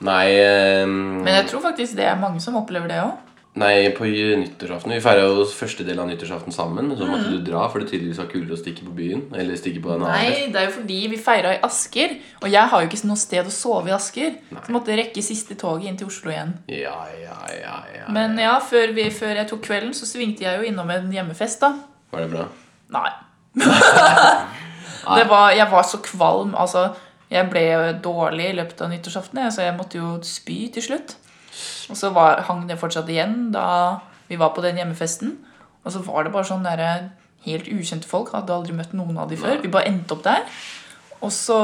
[SPEAKER 1] Nei, eh,
[SPEAKER 4] Men jeg tror faktisk det er mange som opplever det òg.
[SPEAKER 1] nei på j- nyttårsaften Vi feira jo første del av nyttårsaften sammen, men så måtte du dra fordi det tydeligvis var kulere å stikke på byen. Eller stikke på en annen.
[SPEAKER 4] Mm. Nei, det er jo fordi vi feira i Asker, og jeg har jo ikke noe sted å sove i Asker. Så måtte jeg rekke siste toget inn til Oslo igjen.
[SPEAKER 1] Ja, ja, ja, ja.
[SPEAKER 4] Men ja, før, vi, før jeg tok kvelden, så svingte jeg jo innom en hjemmefest, da.
[SPEAKER 1] Var det bra?
[SPEAKER 4] Nei. det var, jeg var så kvalm. Altså, jeg ble dårlig i løpet av nyttårsaften, jeg, så jeg måtte jo spy til slutt. Og så var, hang det fortsatt igjen da vi var på den hjemmefesten. Og så var det bare sånn derre helt ukjente folk. Hadde aldri møtt noen av de før. Vi bare endte opp der. Og så,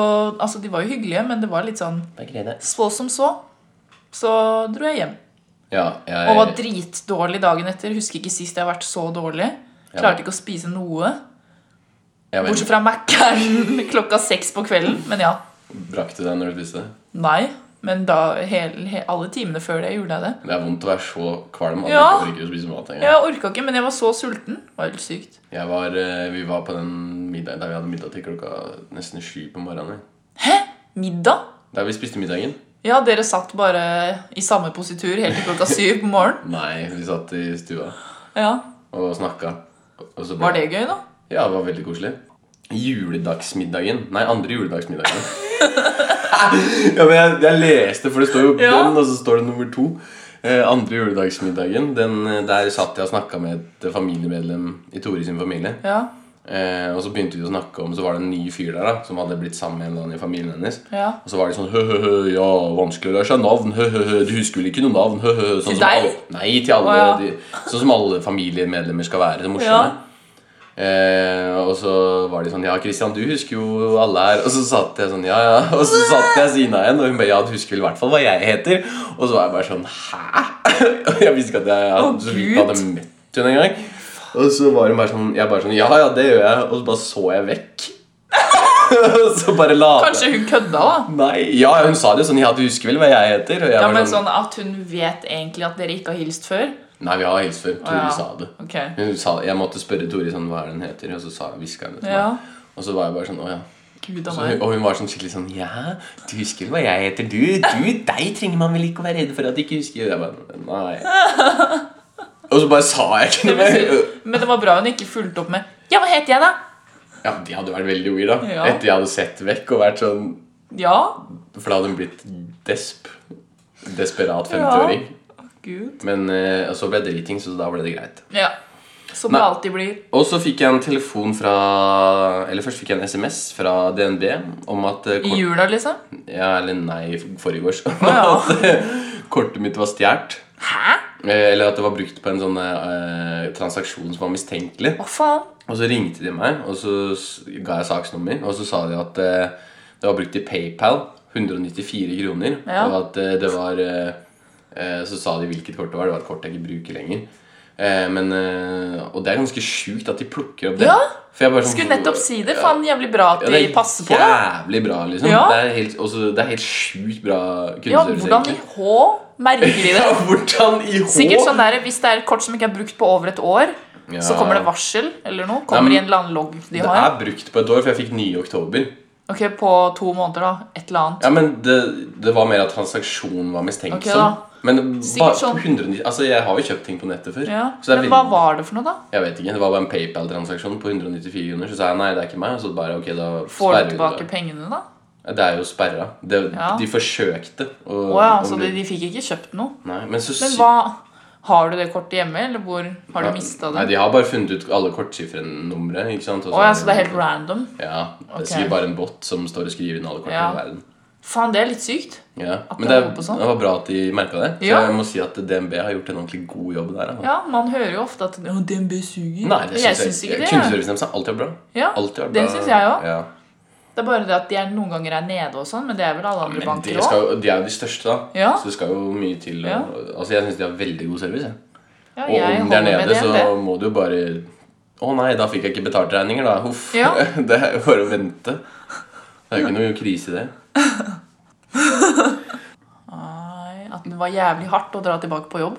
[SPEAKER 4] altså De var jo hyggelige, men det var litt sånn
[SPEAKER 1] Bare grine.
[SPEAKER 4] så som så. Så dro jeg hjem.
[SPEAKER 1] Ja,
[SPEAKER 4] Og var
[SPEAKER 1] jeg,
[SPEAKER 4] dritdårlig dagen etter. Husker ikke sist jeg har vært så dårlig. Klarte ikke å spise noe.
[SPEAKER 1] jeg var
[SPEAKER 4] Bortsett fra Mækkern klokka seks på kvelden. Men ja.
[SPEAKER 1] Brakk du deg når du spiste?
[SPEAKER 4] Nei. Men da, hele, he, alle timene før det gjorde jeg det.
[SPEAKER 1] Det er vondt å være så kvalm at
[SPEAKER 4] Ja.
[SPEAKER 1] du ikke orker å spise mat engang.
[SPEAKER 4] Jeg orka ikke, men jeg var så sulten. Det var helt sykt.
[SPEAKER 1] Jeg var, eh, vi var på den middagen der vi hadde middag til klokka nesten sju på morgenen.
[SPEAKER 4] Middag?
[SPEAKER 1] Der vi spiste middagen.
[SPEAKER 4] Ja, dere satt bare i samme positur helt til klokka syv på morgenen.
[SPEAKER 1] Nei, vi satt i stua
[SPEAKER 4] Ja.
[SPEAKER 1] og snakka. Og så ble-
[SPEAKER 4] Var det gøy, da?
[SPEAKER 1] Ja, det var veldig koselig. Juledagsmiddagen. Nei, andre juledagsmiddagen. ja, men jeg, jeg leste, for det står jo
[SPEAKER 4] Ja.
[SPEAKER 1] den, og så står det nummer to. Eh, andre juledagsmiddagen. Den, eh, der satt jeg og snakka med et familiemedlem i Tore sin familie.
[SPEAKER 4] Ja.
[SPEAKER 1] Eh, og så begynte vi å snakke om Så var det en ny fyr der da som hadde blitt sammen med en eller annen i familien hennes.
[SPEAKER 4] Ja.
[SPEAKER 1] Og så var de sånn hø-hø-hø, ja, vanskelig å lære seg navn, hø-hø-hø, du husker vel ikke noe navn, hø-hø sånn som
[SPEAKER 4] Til deg?
[SPEAKER 1] alle- Nei, til alle.
[SPEAKER 4] Å, ja.
[SPEAKER 1] de, sånn som alle familiemedlemmer skal være. Det morsomme. Eh, og så var de sånn Ja, Christian, du husker jo alle her. Og så satt jeg sånn, ja, ja. Og så satt jeg Sina igjen, og hun bare Ja, du husker vel i hvert fall hva jeg heter. Og så var jeg bare sånn Hæ? Og jeg visste ikke at jeg
[SPEAKER 4] Å,
[SPEAKER 1] så vidt hadde
[SPEAKER 4] Gud.
[SPEAKER 1] møtt henne engang. Og så var hun bare sånn Jeg bare sånn Ja, ja, det gjør jeg. Og så bare så jeg vekk. Og så bare la
[SPEAKER 4] Kanskje hun kødda, da?
[SPEAKER 1] Nei, ja, hun sa det jo sånn Ja, du husker vel hva jeg heter? Og jeg
[SPEAKER 4] Ja,
[SPEAKER 1] var
[SPEAKER 4] men sånn At hun vet egentlig at dere ikke har hilst før?
[SPEAKER 1] Nei, vi har hilst før. Tori
[SPEAKER 4] ja.
[SPEAKER 1] sa det.
[SPEAKER 4] Ok.
[SPEAKER 1] Hun sa, jeg måtte spørre Tori sånn, hva er det hun heter, og så sa hviska hun det til
[SPEAKER 4] Ja.
[SPEAKER 1] meg. Og så var jeg bare sånn Å ja.
[SPEAKER 4] Gud
[SPEAKER 1] Så
[SPEAKER 4] a
[SPEAKER 1] hun,
[SPEAKER 4] meg.
[SPEAKER 1] og hun var sånn skikkelig sånn Ja, du husker vel hva jeg heter? Du, du, deg trenger man vel ikke å være redd for at de ikke husker? Jeg bare, nei Og så bare sa jeg ikke
[SPEAKER 4] Det
[SPEAKER 1] noe
[SPEAKER 4] vil si,
[SPEAKER 1] mer.
[SPEAKER 4] men det var bra hun ikke fulgte opp med Ja, hva heter jeg, da?
[SPEAKER 1] Ja, Det hadde vært veldig weird, da.
[SPEAKER 4] Ja.
[SPEAKER 1] Etter jeg hadde sett vekk og vært sånn
[SPEAKER 4] Ja.
[SPEAKER 1] For da hadde hun blitt desp. Desperat 50-åring.
[SPEAKER 4] Gud.
[SPEAKER 1] Men eh, så ble jeg driting, så da ble det greit.
[SPEAKER 4] Ja. Som
[SPEAKER 1] Nei.
[SPEAKER 4] det alltid blir.
[SPEAKER 1] Og så fikk jeg en telefon fra Eller først fikk jeg en SMS fra DNB om at eh,
[SPEAKER 4] I
[SPEAKER 1] kort,
[SPEAKER 4] jula, liksom.
[SPEAKER 1] Ja, eller nei, i forgårs.
[SPEAKER 4] ja.
[SPEAKER 1] at eh, kortet mitt var stjålet.
[SPEAKER 4] Hæ?
[SPEAKER 1] Eh, Eller at det var brukt på en sånn eh, transaksjon som var mistenkelig.
[SPEAKER 4] Hva faen?
[SPEAKER 1] Og så ringte de meg, og så s- ga jeg saksnummer. Og så sa de at eh, det var brukt i PayPal. 194 kroner.
[SPEAKER 4] Ja.
[SPEAKER 1] Og at eh, det var eh, eh, Så sa de hvilket kort det var. Det var et kort jeg ikke bruker lenger. Eh, men, eh, og det er ganske sjukt at de plukker opp det.
[SPEAKER 4] Ja.
[SPEAKER 1] For jeg bare sånn-
[SPEAKER 4] Skulle nettopp si det. Faen, jævlig bra at
[SPEAKER 1] Ja,
[SPEAKER 4] de
[SPEAKER 1] er
[SPEAKER 4] passer på. da.
[SPEAKER 1] Jævlig bra, liksom.
[SPEAKER 4] Ja.
[SPEAKER 1] Det, er helt, også, det er helt sjukt bra
[SPEAKER 4] Ja,
[SPEAKER 1] kundeservice.
[SPEAKER 4] hvordan i
[SPEAKER 1] egentlig.
[SPEAKER 4] H merker de det?
[SPEAKER 1] ja, hvordan i hå?
[SPEAKER 4] Sikkert sånn der, Hvis det er et kort som ikke er brukt på over et år,
[SPEAKER 1] Ja.
[SPEAKER 4] så kommer det varsel eller noe. Kommer
[SPEAKER 1] Nei,
[SPEAKER 4] i en eller annen logg de
[SPEAKER 1] Det
[SPEAKER 4] har.
[SPEAKER 1] er brukt på et år, for jeg fikk nye i oktober.
[SPEAKER 4] Ok, På to måneder, da. Et eller annet.
[SPEAKER 1] Ja, men det, det var mer at transaksjonen var mistenksom.
[SPEAKER 4] Ok, da.
[SPEAKER 1] Men bare
[SPEAKER 4] Sikkert sånn-
[SPEAKER 1] 190 Altså, jeg har jo kjøpt ting på nettet før.
[SPEAKER 4] Ja.
[SPEAKER 1] Så det er
[SPEAKER 4] Men hva
[SPEAKER 1] veldig-
[SPEAKER 4] var det for noe, da?
[SPEAKER 1] Jeg vet ikke, Det var bare en PayPal-transaksjon på 194 kroner. Så sa jeg nei, det er ikke meg. Og så bare, ok, da
[SPEAKER 4] Får
[SPEAKER 1] sperrer
[SPEAKER 4] du
[SPEAKER 1] vi
[SPEAKER 4] tilbake
[SPEAKER 1] det.
[SPEAKER 4] pengene, da?
[SPEAKER 1] Ja, Det er jo sperra. Det,
[SPEAKER 4] Ja.
[SPEAKER 1] De forsøkte å
[SPEAKER 4] Å ja,
[SPEAKER 1] å
[SPEAKER 4] så de,
[SPEAKER 1] bli-
[SPEAKER 4] de fikk ikke kjøpt noe.
[SPEAKER 1] Nei, men så
[SPEAKER 4] Men
[SPEAKER 1] sy-
[SPEAKER 4] hva Har du det kortet hjemme, eller hvor har du mista
[SPEAKER 1] Nei,
[SPEAKER 4] det?
[SPEAKER 1] De har bare funnet ut alle kortskiffrenumre. Ikke sant? Og
[SPEAKER 4] Å ja, så det er helt random?
[SPEAKER 1] Ja, Det er
[SPEAKER 4] Ok.
[SPEAKER 1] sikkert bare en bot som står og skriver inn alle kortene
[SPEAKER 4] Ja.
[SPEAKER 1] i verden.
[SPEAKER 4] Faen, det er litt sykt.
[SPEAKER 1] Ja.
[SPEAKER 4] At
[SPEAKER 1] Men
[SPEAKER 4] det
[SPEAKER 1] det,
[SPEAKER 4] holder på sånn.
[SPEAKER 1] det var bra at de merka det. Så
[SPEAKER 4] Ja.
[SPEAKER 1] jeg må si at DNB har gjort en ordentlig god jobb der. altså. Da.
[SPEAKER 4] Ja, Man hører jo ofte at «Å, DNB suger.
[SPEAKER 1] Nei, det
[SPEAKER 4] Men
[SPEAKER 1] syns
[SPEAKER 4] jeg
[SPEAKER 1] jeg,
[SPEAKER 4] syns ikke det. jeg.
[SPEAKER 1] Kundeservicen deres har alltid vært bra.
[SPEAKER 4] Ja,
[SPEAKER 1] Alltid vært
[SPEAKER 4] det
[SPEAKER 1] bra.
[SPEAKER 4] syns jeg òg.
[SPEAKER 1] Ja.
[SPEAKER 4] Det er bare det at de er noen ganger er nede og sånn, men det er vel alle andre
[SPEAKER 1] Men de,
[SPEAKER 4] banker òg.
[SPEAKER 1] skal, jo- de er jo de største, da.
[SPEAKER 4] Ja.
[SPEAKER 1] Så det skal jo mye til. å-
[SPEAKER 4] Ja.
[SPEAKER 1] Altså, Jeg syns de har veldig god service. Jeg.
[SPEAKER 4] Ja,
[SPEAKER 1] Og
[SPEAKER 4] jeg
[SPEAKER 1] om de er
[SPEAKER 4] holder
[SPEAKER 1] nede,
[SPEAKER 4] med det.
[SPEAKER 1] så må du jo bare Å nei, da fikk jeg ikke betalt regninger, da. Huff.
[SPEAKER 4] Ja.
[SPEAKER 1] Det er jo bare å vente. Det er jo ikke noe krise i det.
[SPEAKER 4] Nei, At det var jævlig hardt å dra tilbake på jobb.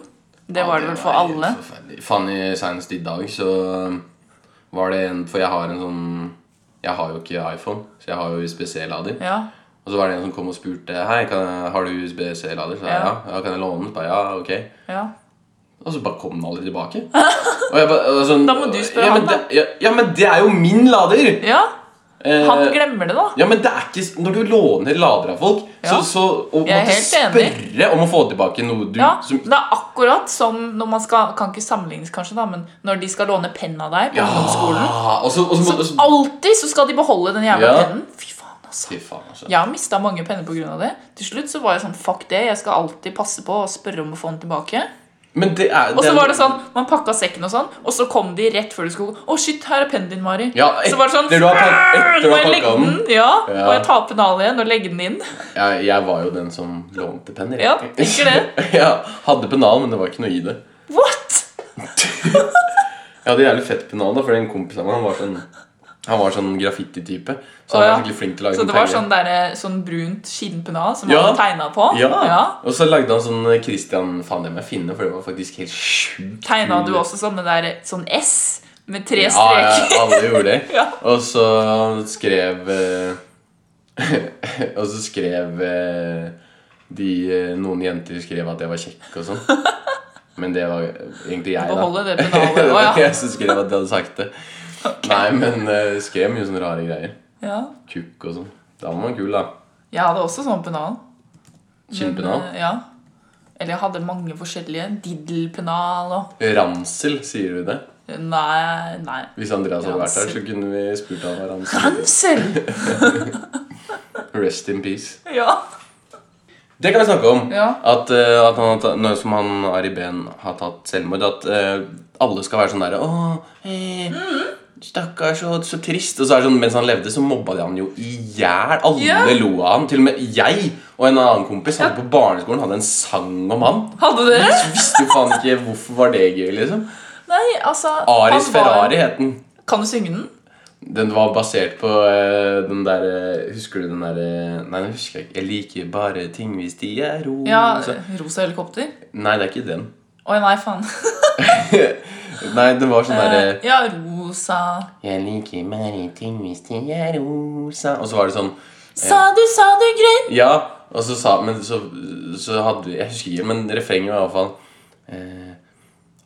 [SPEAKER 4] Det var det vel for
[SPEAKER 1] Ja, helt
[SPEAKER 4] alle.
[SPEAKER 1] forferdelig. Faen, i- senest i dag så var det en For jeg har en sånn Jeg har jo ikke iPhone, så jeg har jo USB-C-lader.
[SPEAKER 4] Ja.
[SPEAKER 1] Og så var det en som kom og spurte Hei, kan jeg, har du USB-C-lader? Så jeg,
[SPEAKER 4] Ja.
[SPEAKER 1] ja. ja, kan jeg låne den? Så jeg, ja, ok
[SPEAKER 4] ja.
[SPEAKER 1] Og så bare kom den aldri tilbake. Og jeg bare, altså,
[SPEAKER 4] Da må du spørre
[SPEAKER 1] ja, men
[SPEAKER 4] han, da.
[SPEAKER 1] det- Ja, ja, men det er jo min lader!
[SPEAKER 4] Ja,
[SPEAKER 1] Eh,
[SPEAKER 4] Han glemmer det, da.
[SPEAKER 1] ja, men det er ikke, s- Når du låner lader av folk, så,
[SPEAKER 4] Ja.
[SPEAKER 1] så å
[SPEAKER 4] Jeg er
[SPEAKER 1] måtte
[SPEAKER 4] helt enig.
[SPEAKER 1] spørre om å få tilbake noe du
[SPEAKER 4] Ja,
[SPEAKER 1] som,
[SPEAKER 4] Det er akkurat som når man skal Kan ikke sammenlignes, kanskje, da, men når de skal låne penn av deg på ungdomsskolen.
[SPEAKER 1] Ah, og så, og så, må- og
[SPEAKER 4] Så
[SPEAKER 1] så,
[SPEAKER 4] alltid så skal de beholde den jævla
[SPEAKER 1] Ja.
[SPEAKER 4] pennen. Fy faen, altså.
[SPEAKER 1] Fy faen, altså.
[SPEAKER 4] Jeg har mista mange penner pga. det. Til slutt så var jeg sånn Fuck det, jeg skal alltid passe på å spørre om å få den tilbake.
[SPEAKER 1] Men det er
[SPEAKER 4] Og så
[SPEAKER 1] den-
[SPEAKER 4] var det sånn, man pakka sekken og sånn, og så kom de rett før du skulle gå. Å, shit, her er pennen din, Mari.
[SPEAKER 1] Ja,
[SPEAKER 4] så var det sånn
[SPEAKER 1] etter du har pak- etter du har
[SPEAKER 4] Må jeg
[SPEAKER 1] pakket
[SPEAKER 4] legge
[SPEAKER 1] den?
[SPEAKER 4] den? Ja.
[SPEAKER 1] Ja.
[SPEAKER 4] Må jeg ta opp pennalen igjen og legge den inn?
[SPEAKER 1] jeg, jeg var jo den som lånte penner.
[SPEAKER 4] Ja, tenker det.
[SPEAKER 1] jeg hadde pennal, men det var ikke noe i det.
[SPEAKER 4] What?
[SPEAKER 1] Jeg hadde jævlig fett pennal, da, fordi en kompis av meg han var sånn, han var sånn graffiti-type. Så
[SPEAKER 4] Å,
[SPEAKER 1] han
[SPEAKER 4] ja.
[SPEAKER 1] var skikkelig flink til å lage
[SPEAKER 4] Så
[SPEAKER 1] sånn
[SPEAKER 4] det var
[SPEAKER 1] tegning.
[SPEAKER 4] sånn, der, sånn brunt skinnpennal som
[SPEAKER 1] Ja.
[SPEAKER 4] han tegna på?
[SPEAKER 1] Ja. Og så lagde han sånn Christian Faen, det må jeg finne, for det var faktisk helt sjukt.
[SPEAKER 4] Tegna
[SPEAKER 1] kul.
[SPEAKER 4] du også sånn, med der, sånn S med tre
[SPEAKER 1] Ja,
[SPEAKER 4] streker?
[SPEAKER 1] ja, alle gjorde det.
[SPEAKER 4] Ja.
[SPEAKER 1] Og så skrev eh, Og så skrev eh, de eh, Noen jenter skrev at jeg var kjekk og sånn. Men det var egentlig jeg, da.
[SPEAKER 4] Beholde det pennalet. Å, ja.
[SPEAKER 1] jeg som skrev at de hadde sagt det. Nei, men eh, skrev mye sånne rare greier.
[SPEAKER 4] Ja.
[SPEAKER 1] Kukk og sånn. Da var man kul, da.
[SPEAKER 4] Jeg hadde også sånn pennal.
[SPEAKER 1] Kinnpennal.
[SPEAKER 4] Men, eh, Ja. Eller jeg hadde mange forskjellige. Diddelpennal og
[SPEAKER 1] Ransel, sier du det?
[SPEAKER 4] Nei, nei.
[SPEAKER 1] Hvis Andreas hadde vært her, så
[SPEAKER 4] Ransel.
[SPEAKER 1] kunne vi spurt han hva ransel
[SPEAKER 4] Ransel!
[SPEAKER 1] Rest in peace.
[SPEAKER 4] Ja.
[SPEAKER 1] Det kan vi snakke om.
[SPEAKER 4] Ja.
[SPEAKER 1] At, eh, at han, har ta- nå som han Ari Behn har tatt selvmord, at eh, alle skal være sånn derre Å, eh,
[SPEAKER 4] Mhm.
[SPEAKER 1] stakkars, så, så trist. Og så er det sånn, mens han levde, så mobba de han jo i hjel. Alle
[SPEAKER 4] Ja.
[SPEAKER 1] lo av han. Til og med jeg og en annen kompis hadde på barneskolen hadde en sang om han.
[SPEAKER 4] Hadde dere?
[SPEAKER 1] Så visste jo faen ikke hvorfor var det gøy, liksom.
[SPEAKER 4] Nei, altså han
[SPEAKER 1] Aris
[SPEAKER 4] var-
[SPEAKER 1] Ferrari het den.
[SPEAKER 4] Kan du synge den?
[SPEAKER 1] Den var basert på eh, den derre Husker du den derre Nei, den husker jeg ikke. Jeg liker bare ting hvis de er ro
[SPEAKER 4] Ja,
[SPEAKER 1] Oh, Så-
[SPEAKER 4] Rosa helikopter.
[SPEAKER 1] Nei, det er ikke den.
[SPEAKER 4] Oi, nei, faen.
[SPEAKER 1] Nei, det var sånn derre
[SPEAKER 4] Ja, rosa
[SPEAKER 1] Jeg liker bare ting hvis de er rosa Og så var det sånn
[SPEAKER 4] Sa du, sa du grønn?
[SPEAKER 1] Ja, og så sa Men så, så hadde Jeg husker ikke, men refrenget var iallfall eh,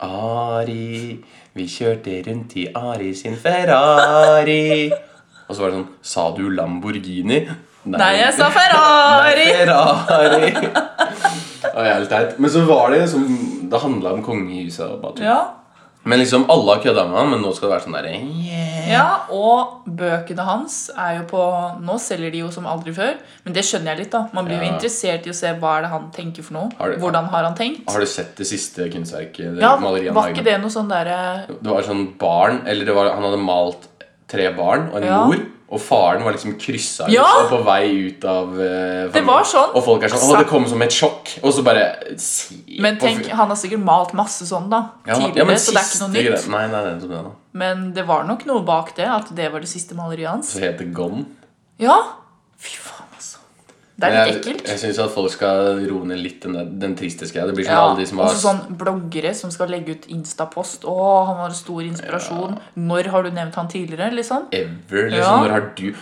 [SPEAKER 1] Ari Vi kjørte rundt i Ari sin Ferrari. Og så var det sånn Sa du Lamborghini?
[SPEAKER 4] Nei, jeg sa Ferrari!
[SPEAKER 1] Ferrari. Det var jævlig teit. Men så var det liksom Det handla om kongehuset. og bare tull.
[SPEAKER 4] Ja,
[SPEAKER 1] Men liksom alle har kødda med han, men nå skal det være sånn derre yeah.
[SPEAKER 4] ja, og bøkene hans er jo på Nå selger de jo som aldri før, men det skjønner jeg litt, da. Man blir jo
[SPEAKER 1] Ja.
[SPEAKER 4] interessert i å se hva er det han tenker for noe.
[SPEAKER 1] Har du-
[SPEAKER 4] Hvordan har han tenkt?
[SPEAKER 1] Har du sett det siste kunstverket? det
[SPEAKER 4] Ja,
[SPEAKER 1] eh, maleriet han
[SPEAKER 4] Var
[SPEAKER 1] lagde?
[SPEAKER 4] ikke det noe sånn derre
[SPEAKER 1] Det var sånn barn Eller det var, han hadde malt tre barn og en
[SPEAKER 4] Ja.
[SPEAKER 1] mor. Og faren var liksom kryssa ut
[SPEAKER 4] Ja!
[SPEAKER 1] og på vei ut av eh,
[SPEAKER 4] Det
[SPEAKER 1] familien.
[SPEAKER 4] var sånn.
[SPEAKER 1] Og folk er sånn
[SPEAKER 4] Altså-
[SPEAKER 1] Å, det kom som et sjokk. Og så bare eh, si
[SPEAKER 4] Men
[SPEAKER 1] på
[SPEAKER 4] tenk,
[SPEAKER 1] fy-
[SPEAKER 4] han har sikkert malt masse sånn, da.
[SPEAKER 1] Ja,
[SPEAKER 4] Tidligere,
[SPEAKER 1] ja, men
[SPEAKER 4] så det er ikke
[SPEAKER 1] siste
[SPEAKER 4] noe nytt.
[SPEAKER 1] gre- Nei, nei, det er ikke det da.
[SPEAKER 4] Men det var nok noe bak det, at det var det siste maleriet hans.
[SPEAKER 1] Så heter det Gone.
[SPEAKER 4] Ja! Fy faen, altså. Det er litt
[SPEAKER 1] Jeg,
[SPEAKER 4] ekkelt.
[SPEAKER 1] jeg syns at folk skal roe ned litt den, der, den triste greia. Det blir sånn
[SPEAKER 4] Ja,
[SPEAKER 1] alle de som har
[SPEAKER 4] Også sånn bloggere som skal legge ut Insta-post. Å, han var en stor inspirasjon. Når har du nevnt han tidligere, liksom?
[SPEAKER 1] ever. Liksom,
[SPEAKER 4] Ja.
[SPEAKER 1] Når har du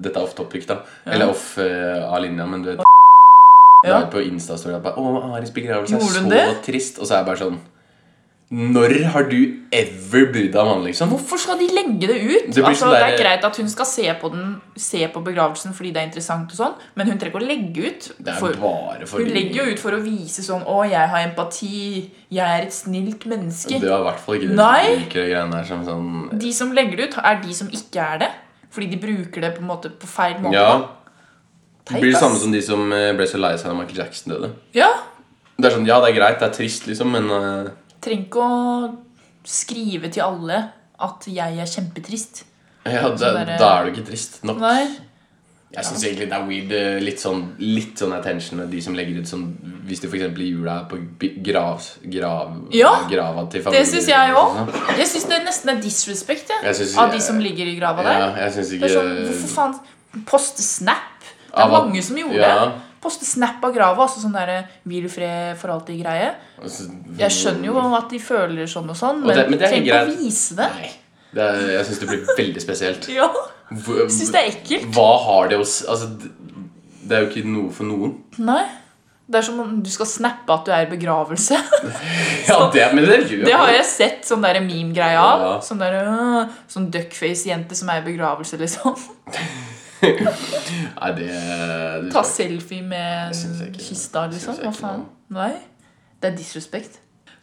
[SPEAKER 1] Dette er off topic, da. Eller off eh, av linja, men du vet Det
[SPEAKER 4] Ja.
[SPEAKER 1] er på Insta-story at bare, Å, Aris begravelse er
[SPEAKER 4] Gjorde
[SPEAKER 1] så
[SPEAKER 4] hun det?
[SPEAKER 1] trist. Og så er jeg bare sånn Når har du ever brydd deg om han, liksom?
[SPEAKER 4] Hvorfor skal de legge det ut?
[SPEAKER 1] Det blir
[SPEAKER 4] altså,
[SPEAKER 1] sånn
[SPEAKER 4] det er
[SPEAKER 1] der-
[SPEAKER 4] greit at hun skal se på, den, se på begravelsen fordi det er interessant, og sånn, men hun trenger ikke å legge ut.
[SPEAKER 1] Det er
[SPEAKER 4] For,
[SPEAKER 1] bare
[SPEAKER 4] hun
[SPEAKER 1] fordi
[SPEAKER 4] legger jo ut for å vise sånn Å, jeg har empati. Jeg er et snilt menneske.
[SPEAKER 1] Du er i hvert fall ikke den
[SPEAKER 4] Nei.
[SPEAKER 1] som liker de greiene her som sånn
[SPEAKER 4] De som legger det ut, er de som ikke er det. Fordi de bruker det på, en måte, på feil måte.
[SPEAKER 1] Ja.
[SPEAKER 4] da.
[SPEAKER 1] Det blir det
[SPEAKER 4] ass.
[SPEAKER 1] samme som de som eh, ble så lei seg da Michael Jackson døde.
[SPEAKER 4] ja.
[SPEAKER 1] Det er sånn, Ja, det er greit, det er trist, liksom, men eh,
[SPEAKER 4] Trenger ikke å skrive til alle at jeg er kjempetrist.
[SPEAKER 1] ja, da,
[SPEAKER 4] bare-
[SPEAKER 1] da er du ikke trist nok.
[SPEAKER 4] Nei.
[SPEAKER 1] Jeg syns egentlig det er weird eh, litt sånn, litt sånn attention med de som legger ut sånn Hvis de for eksempel i jula er på bi- grav, grav,
[SPEAKER 4] Ja,
[SPEAKER 1] grava til
[SPEAKER 4] Det
[SPEAKER 1] familien
[SPEAKER 4] syns jeg òg. Jeg syns det nesten er disrespect jeg,
[SPEAKER 1] Jeg synes-
[SPEAKER 4] av de som ligger i grava der.
[SPEAKER 1] Ja, jeg syns
[SPEAKER 4] Det
[SPEAKER 1] ikke
[SPEAKER 4] er sånn, Hvorfor faen Poste snap? Det
[SPEAKER 1] Av
[SPEAKER 4] er
[SPEAKER 1] at-
[SPEAKER 4] mange som gjorde
[SPEAKER 1] ja.
[SPEAKER 4] det. Poste snap av grava. Altså sånn derre hvil i fred for alltid-greie. Jeg skjønner jo at de føler sånn og sånn,
[SPEAKER 1] Og
[SPEAKER 4] men,
[SPEAKER 1] det- men det er
[SPEAKER 4] trenger ikke å
[SPEAKER 1] greit.
[SPEAKER 4] vise det.
[SPEAKER 1] Nei. Det er, jeg syns det blir veldig spesielt.
[SPEAKER 4] Ja,
[SPEAKER 1] Hvor-
[SPEAKER 4] Syns det er ekkelt.
[SPEAKER 1] Hva har det å s... Altså, d- det er jo ikke noe for noen.
[SPEAKER 4] Nei. Det er som om du skal snappe at du er i begravelse.
[SPEAKER 1] Ja, det, men det gjør
[SPEAKER 4] Det har jeg sett sånn der meme-greie av.
[SPEAKER 1] Ja.
[SPEAKER 4] Sånn, der, øh, sånn duckface-jente som er i begravelse, liksom.
[SPEAKER 1] Nei, det, det
[SPEAKER 4] Ta selfie med
[SPEAKER 1] synes jeg ikke.
[SPEAKER 4] kista, liksom.
[SPEAKER 1] Synes jeg
[SPEAKER 4] Hva
[SPEAKER 1] ikke
[SPEAKER 4] faen? Nei. Det er disrespekt.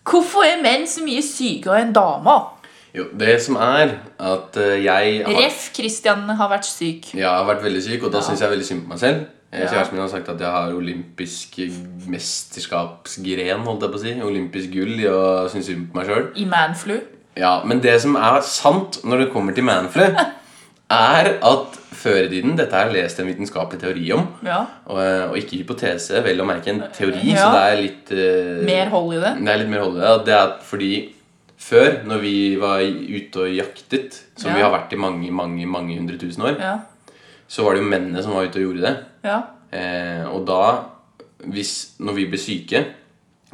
[SPEAKER 4] Hvorfor er menn så mye sykere enn damer?
[SPEAKER 1] Jo, det som er at eh, jeg har,
[SPEAKER 4] Ref. Christian har vært syk.
[SPEAKER 1] jeg har vært veldig syk, og da
[SPEAKER 4] Ja.
[SPEAKER 1] syns jeg veldig synd på meg selv. Eh,
[SPEAKER 4] Ja.
[SPEAKER 1] Kjæresten min har sagt at jeg har olympisk mesterskapsgren, holdt jeg på å si. Olympisk gull i å synes synd på meg sjøl.
[SPEAKER 4] I manflu.
[SPEAKER 1] Ja, men det som er sant når det kommer til manflu, er at før i tiden Dette har jeg lest en vitenskapelig teori om,
[SPEAKER 4] Ja.
[SPEAKER 1] og, eh, og ikke hypotese, vel å merke en teori, så
[SPEAKER 4] Ja.
[SPEAKER 1] det er litt eh,
[SPEAKER 4] Mer hold i det.
[SPEAKER 1] Det er litt mer hold i det. at Det er at fordi før, når vi var ute og jaktet, som
[SPEAKER 4] Ja.
[SPEAKER 1] vi har vært i mange mange, mange hundre tusen år,
[SPEAKER 4] Ja.
[SPEAKER 1] så var det jo mennene som var ute og gjorde det.
[SPEAKER 4] ja.
[SPEAKER 1] Eh, og da, hvis, når vi blir syke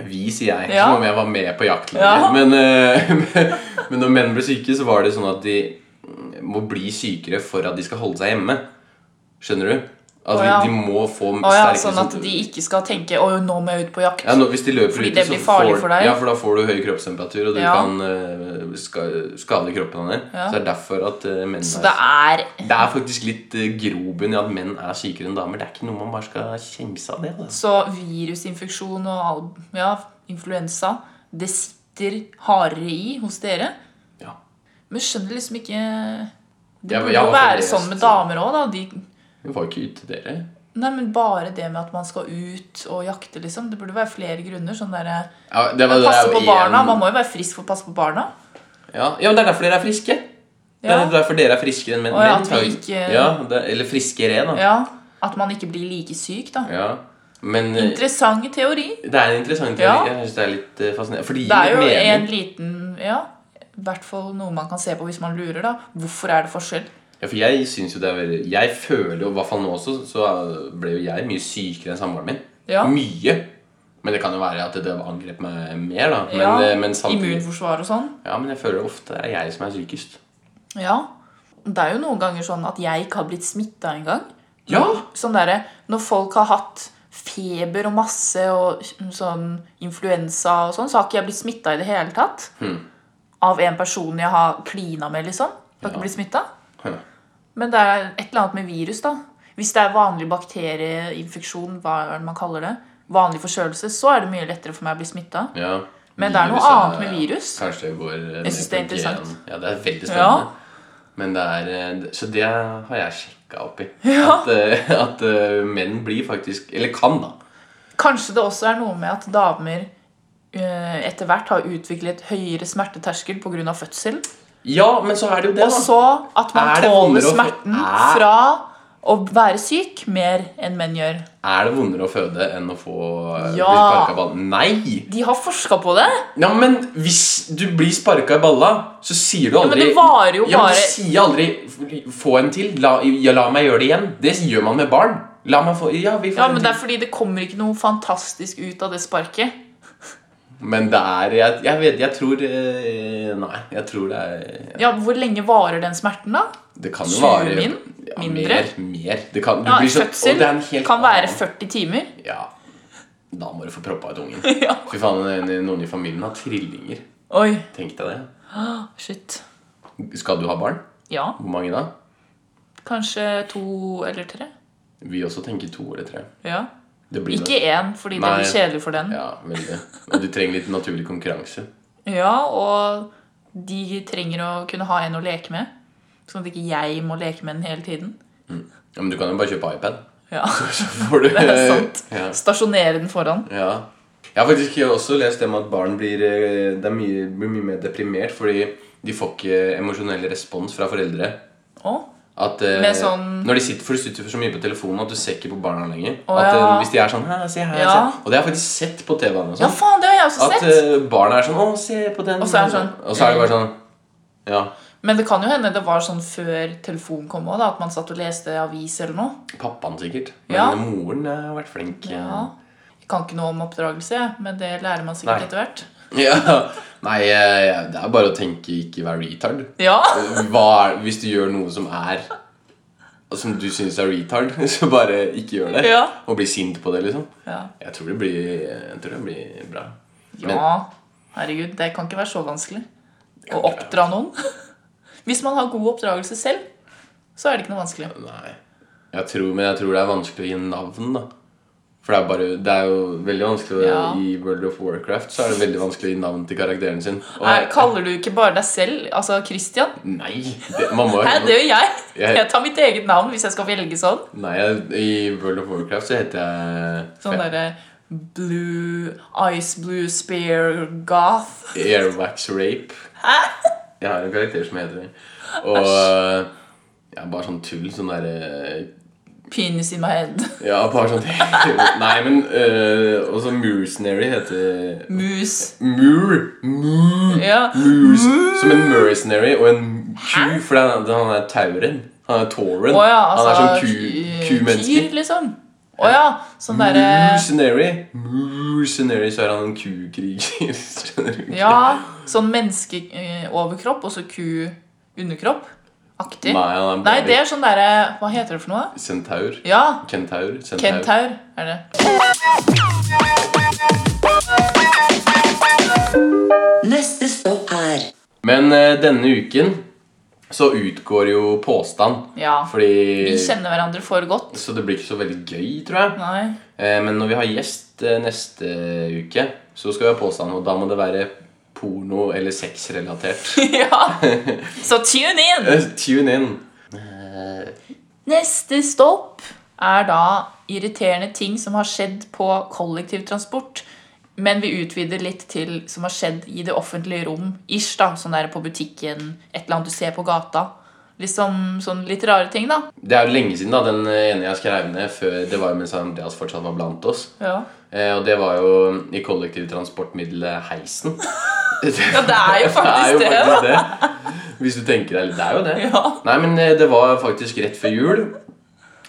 [SPEAKER 1] Vi, sier jeg,
[SPEAKER 4] Ja.
[SPEAKER 1] som om jeg var med på jakt lenger.
[SPEAKER 4] Ja.
[SPEAKER 1] Men, eh, men når menn ble syke, så var det sånn at de må bli sykere for at de skal holde seg hjemme. Skjønner du? At
[SPEAKER 4] Å, ja.
[SPEAKER 1] de, de må få
[SPEAKER 4] Å ja,
[SPEAKER 1] sterkere
[SPEAKER 4] sånn at de ikke skal tenke 'Å, nå må jeg ut på jakt'.
[SPEAKER 1] ja, nå, hvis de løper
[SPEAKER 4] Fordi
[SPEAKER 1] ute,
[SPEAKER 4] det
[SPEAKER 1] så
[SPEAKER 4] blir farlig
[SPEAKER 1] får,
[SPEAKER 4] for deg.
[SPEAKER 1] Ja, for da får du høy kroppstemperatur, og du
[SPEAKER 4] Ja.
[SPEAKER 1] kan eh, ska, skade kroppen av det.
[SPEAKER 4] Ja.
[SPEAKER 1] Så det er derfor at eh, menn
[SPEAKER 4] Så
[SPEAKER 1] er
[SPEAKER 4] det er
[SPEAKER 1] Det er faktisk litt uh, grobunn i at menn er sykere enn damer. Det er ikke noe man bare skal kimse av det. Altså.
[SPEAKER 4] Så virusinfeksjon og all- ja, influensa, det sitter hardere i hos dere.
[SPEAKER 1] Ja.
[SPEAKER 4] Men skjønner liksom ikke Det
[SPEAKER 1] Jeg-
[SPEAKER 4] burde
[SPEAKER 1] jeg
[SPEAKER 4] jo
[SPEAKER 1] har
[SPEAKER 4] være
[SPEAKER 1] lest-
[SPEAKER 4] sånn med damer òg, da. De,
[SPEAKER 1] Vi var ikke ute, dere.
[SPEAKER 4] nei, men bare det med at man skal ut og jakte, liksom. Det burde være flere grunner. Sånn derre
[SPEAKER 1] Ja, det var- det er
[SPEAKER 4] Passe
[SPEAKER 1] jo
[SPEAKER 4] på
[SPEAKER 1] en-
[SPEAKER 4] barna. Man må jo være frisk for å passe på barna.
[SPEAKER 1] Ja. ja, men det er derfor dere er friske. Det
[SPEAKER 4] Ja.
[SPEAKER 1] er derfor dere er friskere enn menn.
[SPEAKER 4] Å, ja,
[SPEAKER 1] Menn
[SPEAKER 4] at
[SPEAKER 1] tar
[SPEAKER 4] vi
[SPEAKER 1] jo-
[SPEAKER 4] ikke-
[SPEAKER 1] ja, det, Eller friskere, da.
[SPEAKER 4] ja. At man ikke blir like syk, da.
[SPEAKER 1] Ja. Men eh,
[SPEAKER 4] Interessant teori.
[SPEAKER 1] det er en interessant teori.
[SPEAKER 4] Ja.
[SPEAKER 1] Jeg synes det er litt eh, fascinerende. For det
[SPEAKER 4] Det er
[SPEAKER 1] gir
[SPEAKER 4] jo
[SPEAKER 1] litt mening.
[SPEAKER 4] en liten Ja, i hvert fall noe man kan se på hvis man lurer, da. Hvorfor er det forskjell?
[SPEAKER 1] Ja, for jeg synes jo det er veldig Jeg føler jo, i hvert fall nå også, så ble jo jeg mye sykere enn samboeren min.
[SPEAKER 4] Ja.
[SPEAKER 1] Mye. Men det kan jo være at det angrep meg mer, da. Men,
[SPEAKER 4] Ja,
[SPEAKER 1] eh, men samtidig
[SPEAKER 4] Immunforsvar og sånn.
[SPEAKER 1] Ja, men jeg føler ofte det er jeg som er sykest.
[SPEAKER 4] Ja. Det er jo noen ganger sånn at jeg ikke har blitt smitta engang.
[SPEAKER 1] Ja!
[SPEAKER 4] Sånn derre når folk har hatt feber og masse og sånn influensa og sånn, så har ikke jeg blitt smitta i det hele tatt.
[SPEAKER 1] Hmm.
[SPEAKER 4] Av en person jeg har klina med, liksom.
[SPEAKER 1] Ja.
[SPEAKER 4] Jeg har ikke blitt smitta.
[SPEAKER 1] Hm.
[SPEAKER 4] Men det er et eller annet med virus, da. Hvis det er vanlig bakterieinfeksjon, hva er det man kaller det, vanlig forkjølelse, så er det mye lettere for meg å bli smitta.
[SPEAKER 1] ja.
[SPEAKER 4] Men det er noe
[SPEAKER 1] Virus
[SPEAKER 4] annet med virus.
[SPEAKER 1] Kanskje det går eh,
[SPEAKER 4] Jeg synes
[SPEAKER 1] ned
[SPEAKER 4] det
[SPEAKER 1] på gen.
[SPEAKER 4] er interessant.
[SPEAKER 1] Ja, det er veldig
[SPEAKER 4] Ja.
[SPEAKER 1] spennende. Men det er eh, Så det har jeg sjekka opp i. At, eh, at eh, menn blir faktisk Eller kan, da.
[SPEAKER 4] Kanskje det også er noe med at damer eh, etter hvert har utviklet høyere smerteterskel pga. fødsel.
[SPEAKER 1] Ja, men så er det jo det,
[SPEAKER 4] Og
[SPEAKER 1] da.
[SPEAKER 4] så at man
[SPEAKER 1] Er det
[SPEAKER 4] tåler
[SPEAKER 1] vondere å få-
[SPEAKER 4] smerten
[SPEAKER 1] Er-
[SPEAKER 4] fra å være syk mer enn menn gjør.
[SPEAKER 1] Er det vondere å føde enn å få eh,
[SPEAKER 4] Ja.
[SPEAKER 1] bli sparka i ballen? Nei!
[SPEAKER 4] De har forska på det!
[SPEAKER 1] Ja, men hvis du blir sparka i balla, så sier du
[SPEAKER 4] men
[SPEAKER 1] aldri
[SPEAKER 4] det varer jo
[SPEAKER 1] Ja, men
[SPEAKER 4] bare-
[SPEAKER 1] du sier aldri 'få en til', la, ja, 'la meg gjøre det igjen'. Det gjør man med barn. La meg få Ja, vi får
[SPEAKER 4] Ja,
[SPEAKER 1] en
[SPEAKER 4] Men
[SPEAKER 1] til.
[SPEAKER 4] det er fordi det kommer ikke noe fantastisk ut av det sparket.
[SPEAKER 1] Men det er Jeg, jeg vet Jeg tror eh, Nei, jeg tror det er
[SPEAKER 4] Ja, Hvor lenge varer den smerten, da?
[SPEAKER 1] Det kan jo
[SPEAKER 4] 20
[SPEAKER 1] vare
[SPEAKER 4] min?
[SPEAKER 1] ja,
[SPEAKER 4] Mindre?
[SPEAKER 1] Mer. mer. Det kan, du
[SPEAKER 4] Ja,
[SPEAKER 1] blir så- og
[SPEAKER 4] Fødsel
[SPEAKER 1] det er en helt
[SPEAKER 4] kan være
[SPEAKER 1] annen-
[SPEAKER 4] 40 timer.
[SPEAKER 1] Ja. Da må du få proppa ut ungen.
[SPEAKER 4] Ja.
[SPEAKER 1] Fy faen, en- noen i familien har trillinger.
[SPEAKER 4] Oi,
[SPEAKER 1] Tenk deg det.
[SPEAKER 4] shit.
[SPEAKER 1] Skal du ha barn?
[SPEAKER 4] Ja,
[SPEAKER 1] Hvor mange da?
[SPEAKER 4] kanskje to eller tre.
[SPEAKER 1] Vi også tenker to eller tre.
[SPEAKER 4] Ja.
[SPEAKER 1] Det blir
[SPEAKER 4] Ikke
[SPEAKER 1] nok-
[SPEAKER 4] én, fordi det
[SPEAKER 1] Nei.
[SPEAKER 4] blir kjedelig for den.
[SPEAKER 1] Ja, veldig. Og du trenger litt naturlig konkurranse.
[SPEAKER 4] Ja, og de trenger å kunne ha en å leke med. Sånn at ikke jeg må leke med den hele tiden.
[SPEAKER 1] Ja, men du kan jo bare kjøpe iPad.
[SPEAKER 4] Ja,
[SPEAKER 1] Så får du
[SPEAKER 4] det er sant.
[SPEAKER 1] Ja.
[SPEAKER 4] Stasjonere den foran.
[SPEAKER 1] ja. Jeg har faktisk også lest det med at barn blir, eh, det er mye, blir mye mer deprimert fordi de får ikke emosjonell respons fra foreldre.
[SPEAKER 4] Å,
[SPEAKER 1] At, eh,
[SPEAKER 4] Med sånn-
[SPEAKER 1] Når de sitter for de sitter så mye på telefonen at du ser ikke på barna lenger.
[SPEAKER 4] Å,
[SPEAKER 1] at, eh,
[SPEAKER 4] ja.
[SPEAKER 1] Hvis de er sånn Hæ, se her,
[SPEAKER 4] Ja.
[SPEAKER 1] se. Og det har jeg faktisk sett på TV-en. og
[SPEAKER 4] ja
[SPEAKER 1] sånn.
[SPEAKER 4] faen, det har jeg også
[SPEAKER 1] At
[SPEAKER 4] sett!
[SPEAKER 1] eh, barna er sånn Å, se på den.
[SPEAKER 4] Og så er det sånn,
[SPEAKER 1] Og så er det bare sånn Ja.
[SPEAKER 4] Men det kan jo hende det var sånn før telefonen kom òg, at man satt og leste avis eller noe.
[SPEAKER 1] Pappaen sikkert. Men
[SPEAKER 4] Ja.
[SPEAKER 1] moren eh, har vært flink. eh.
[SPEAKER 4] Ja. Jeg kan ikke noe om oppdragelse, jeg, men det lærer man sikkert
[SPEAKER 1] Nei.
[SPEAKER 4] etter hvert.
[SPEAKER 1] Ja. Nei, eh, det er bare å tenke ikke være retard.
[SPEAKER 4] Ja,
[SPEAKER 1] Eh, Hva er, hvis du gjør noe som er Som du syns er retard, så bare ikke gjør det.
[SPEAKER 4] Ja.
[SPEAKER 1] Og bli sint på det, liksom.
[SPEAKER 4] ja.
[SPEAKER 1] Jeg tror det blir, jeg tror det blir bra.
[SPEAKER 4] ja. Herregud, det kan ikke være så vanskelig å
[SPEAKER 1] kan ikke være
[SPEAKER 4] oppdra noen. Hvis man har god oppdragelse selv, så er det ikke noe vanskelig.
[SPEAKER 1] Nei. Jeg tror, men jeg tror det er vanskelig å gi navn, da. For det er, bare, det er jo veldig vanskelig å-
[SPEAKER 4] Ja.
[SPEAKER 1] I World of Warcraft så er det veldig vanskelig å gi navn til karakteren sin. Og-
[SPEAKER 4] Nei, kaller du ikke bare deg selv altså Christian?
[SPEAKER 1] nei! Det, man må,
[SPEAKER 4] Nei, det gjør jeg.
[SPEAKER 1] Jeg-
[SPEAKER 4] Jeg tar mitt eget navn hvis jeg skal velge sånn.
[SPEAKER 1] nei, jeg- i World of Warcraft så heter jeg
[SPEAKER 4] Sånn derre blue Ice blue spear goth.
[SPEAKER 1] Airwax Rape. Jeg har en karakter som heter det. Og ja, bare sånn tull. Sånn derre
[SPEAKER 4] Penis in my head.
[SPEAKER 1] Ja, bare sånn Nei, men øh, også Mercenary heter
[SPEAKER 4] Mus.
[SPEAKER 1] Moor. Moor.
[SPEAKER 4] Ja.
[SPEAKER 1] Moors. Som en mercenary og en ku, for det er, det er han er tauren. Han er tauren.
[SPEAKER 4] Å ja, altså
[SPEAKER 1] han er sånn
[SPEAKER 4] ku-
[SPEAKER 1] ku- ku-menneske.
[SPEAKER 4] Kyr, liksom. Å ja. Sånn derre
[SPEAKER 1] Mercenary. Mercenary, så er han en kukriger. Skjønner du? ikke?
[SPEAKER 4] Ja. Sånn menneskeoverkropp og så ku-underkropp. Aktig.
[SPEAKER 1] Nei, han er
[SPEAKER 4] Nei,
[SPEAKER 1] bare
[SPEAKER 4] det er sånn derre Hva heter det for noe?
[SPEAKER 1] Centaur.
[SPEAKER 4] Ja.
[SPEAKER 1] Kentaur. Centaur.
[SPEAKER 4] Kentaur er det.
[SPEAKER 3] Neste stopp er
[SPEAKER 1] Men eh, denne uken så utgår jo påstand.
[SPEAKER 4] Ja. Vi
[SPEAKER 1] Fordi
[SPEAKER 4] kjenner hverandre for godt.
[SPEAKER 1] Så det blir ikke så veldig gøy, tror jeg.
[SPEAKER 4] Nei.
[SPEAKER 1] Eh, Men når vi har gjest eh, neste uke, så skal vi ha påstand, og da må det være porno- eller sexrelatert.
[SPEAKER 4] ja. Så tune in!
[SPEAKER 1] Eh, Tune in!
[SPEAKER 4] Neste stopp er da irriterende ting som har skjedd på kollektivtransport. Men vi utvider litt til som har skjedd i det offentlige rom. Ish, da. Sånn der på butikken, et eller annet du ser på gata. Liksom sånn litt rare ting, da.
[SPEAKER 1] Det er jo lenge siden, da. Den eh, ene jeg skrev ned før, det var jo mens Andreas fortsatt var blant oss.
[SPEAKER 4] Ja.
[SPEAKER 1] Eh, Og det var jo i kollektivtransportmiddelet heisen.
[SPEAKER 4] ja, det er jo
[SPEAKER 1] er jo
[SPEAKER 4] faktisk det.
[SPEAKER 1] faktisk
[SPEAKER 4] da.
[SPEAKER 1] det. Hvis du tenker deg litt, det er jo det.
[SPEAKER 4] Ja.
[SPEAKER 1] Nei, men eh, det var faktisk rett før jul.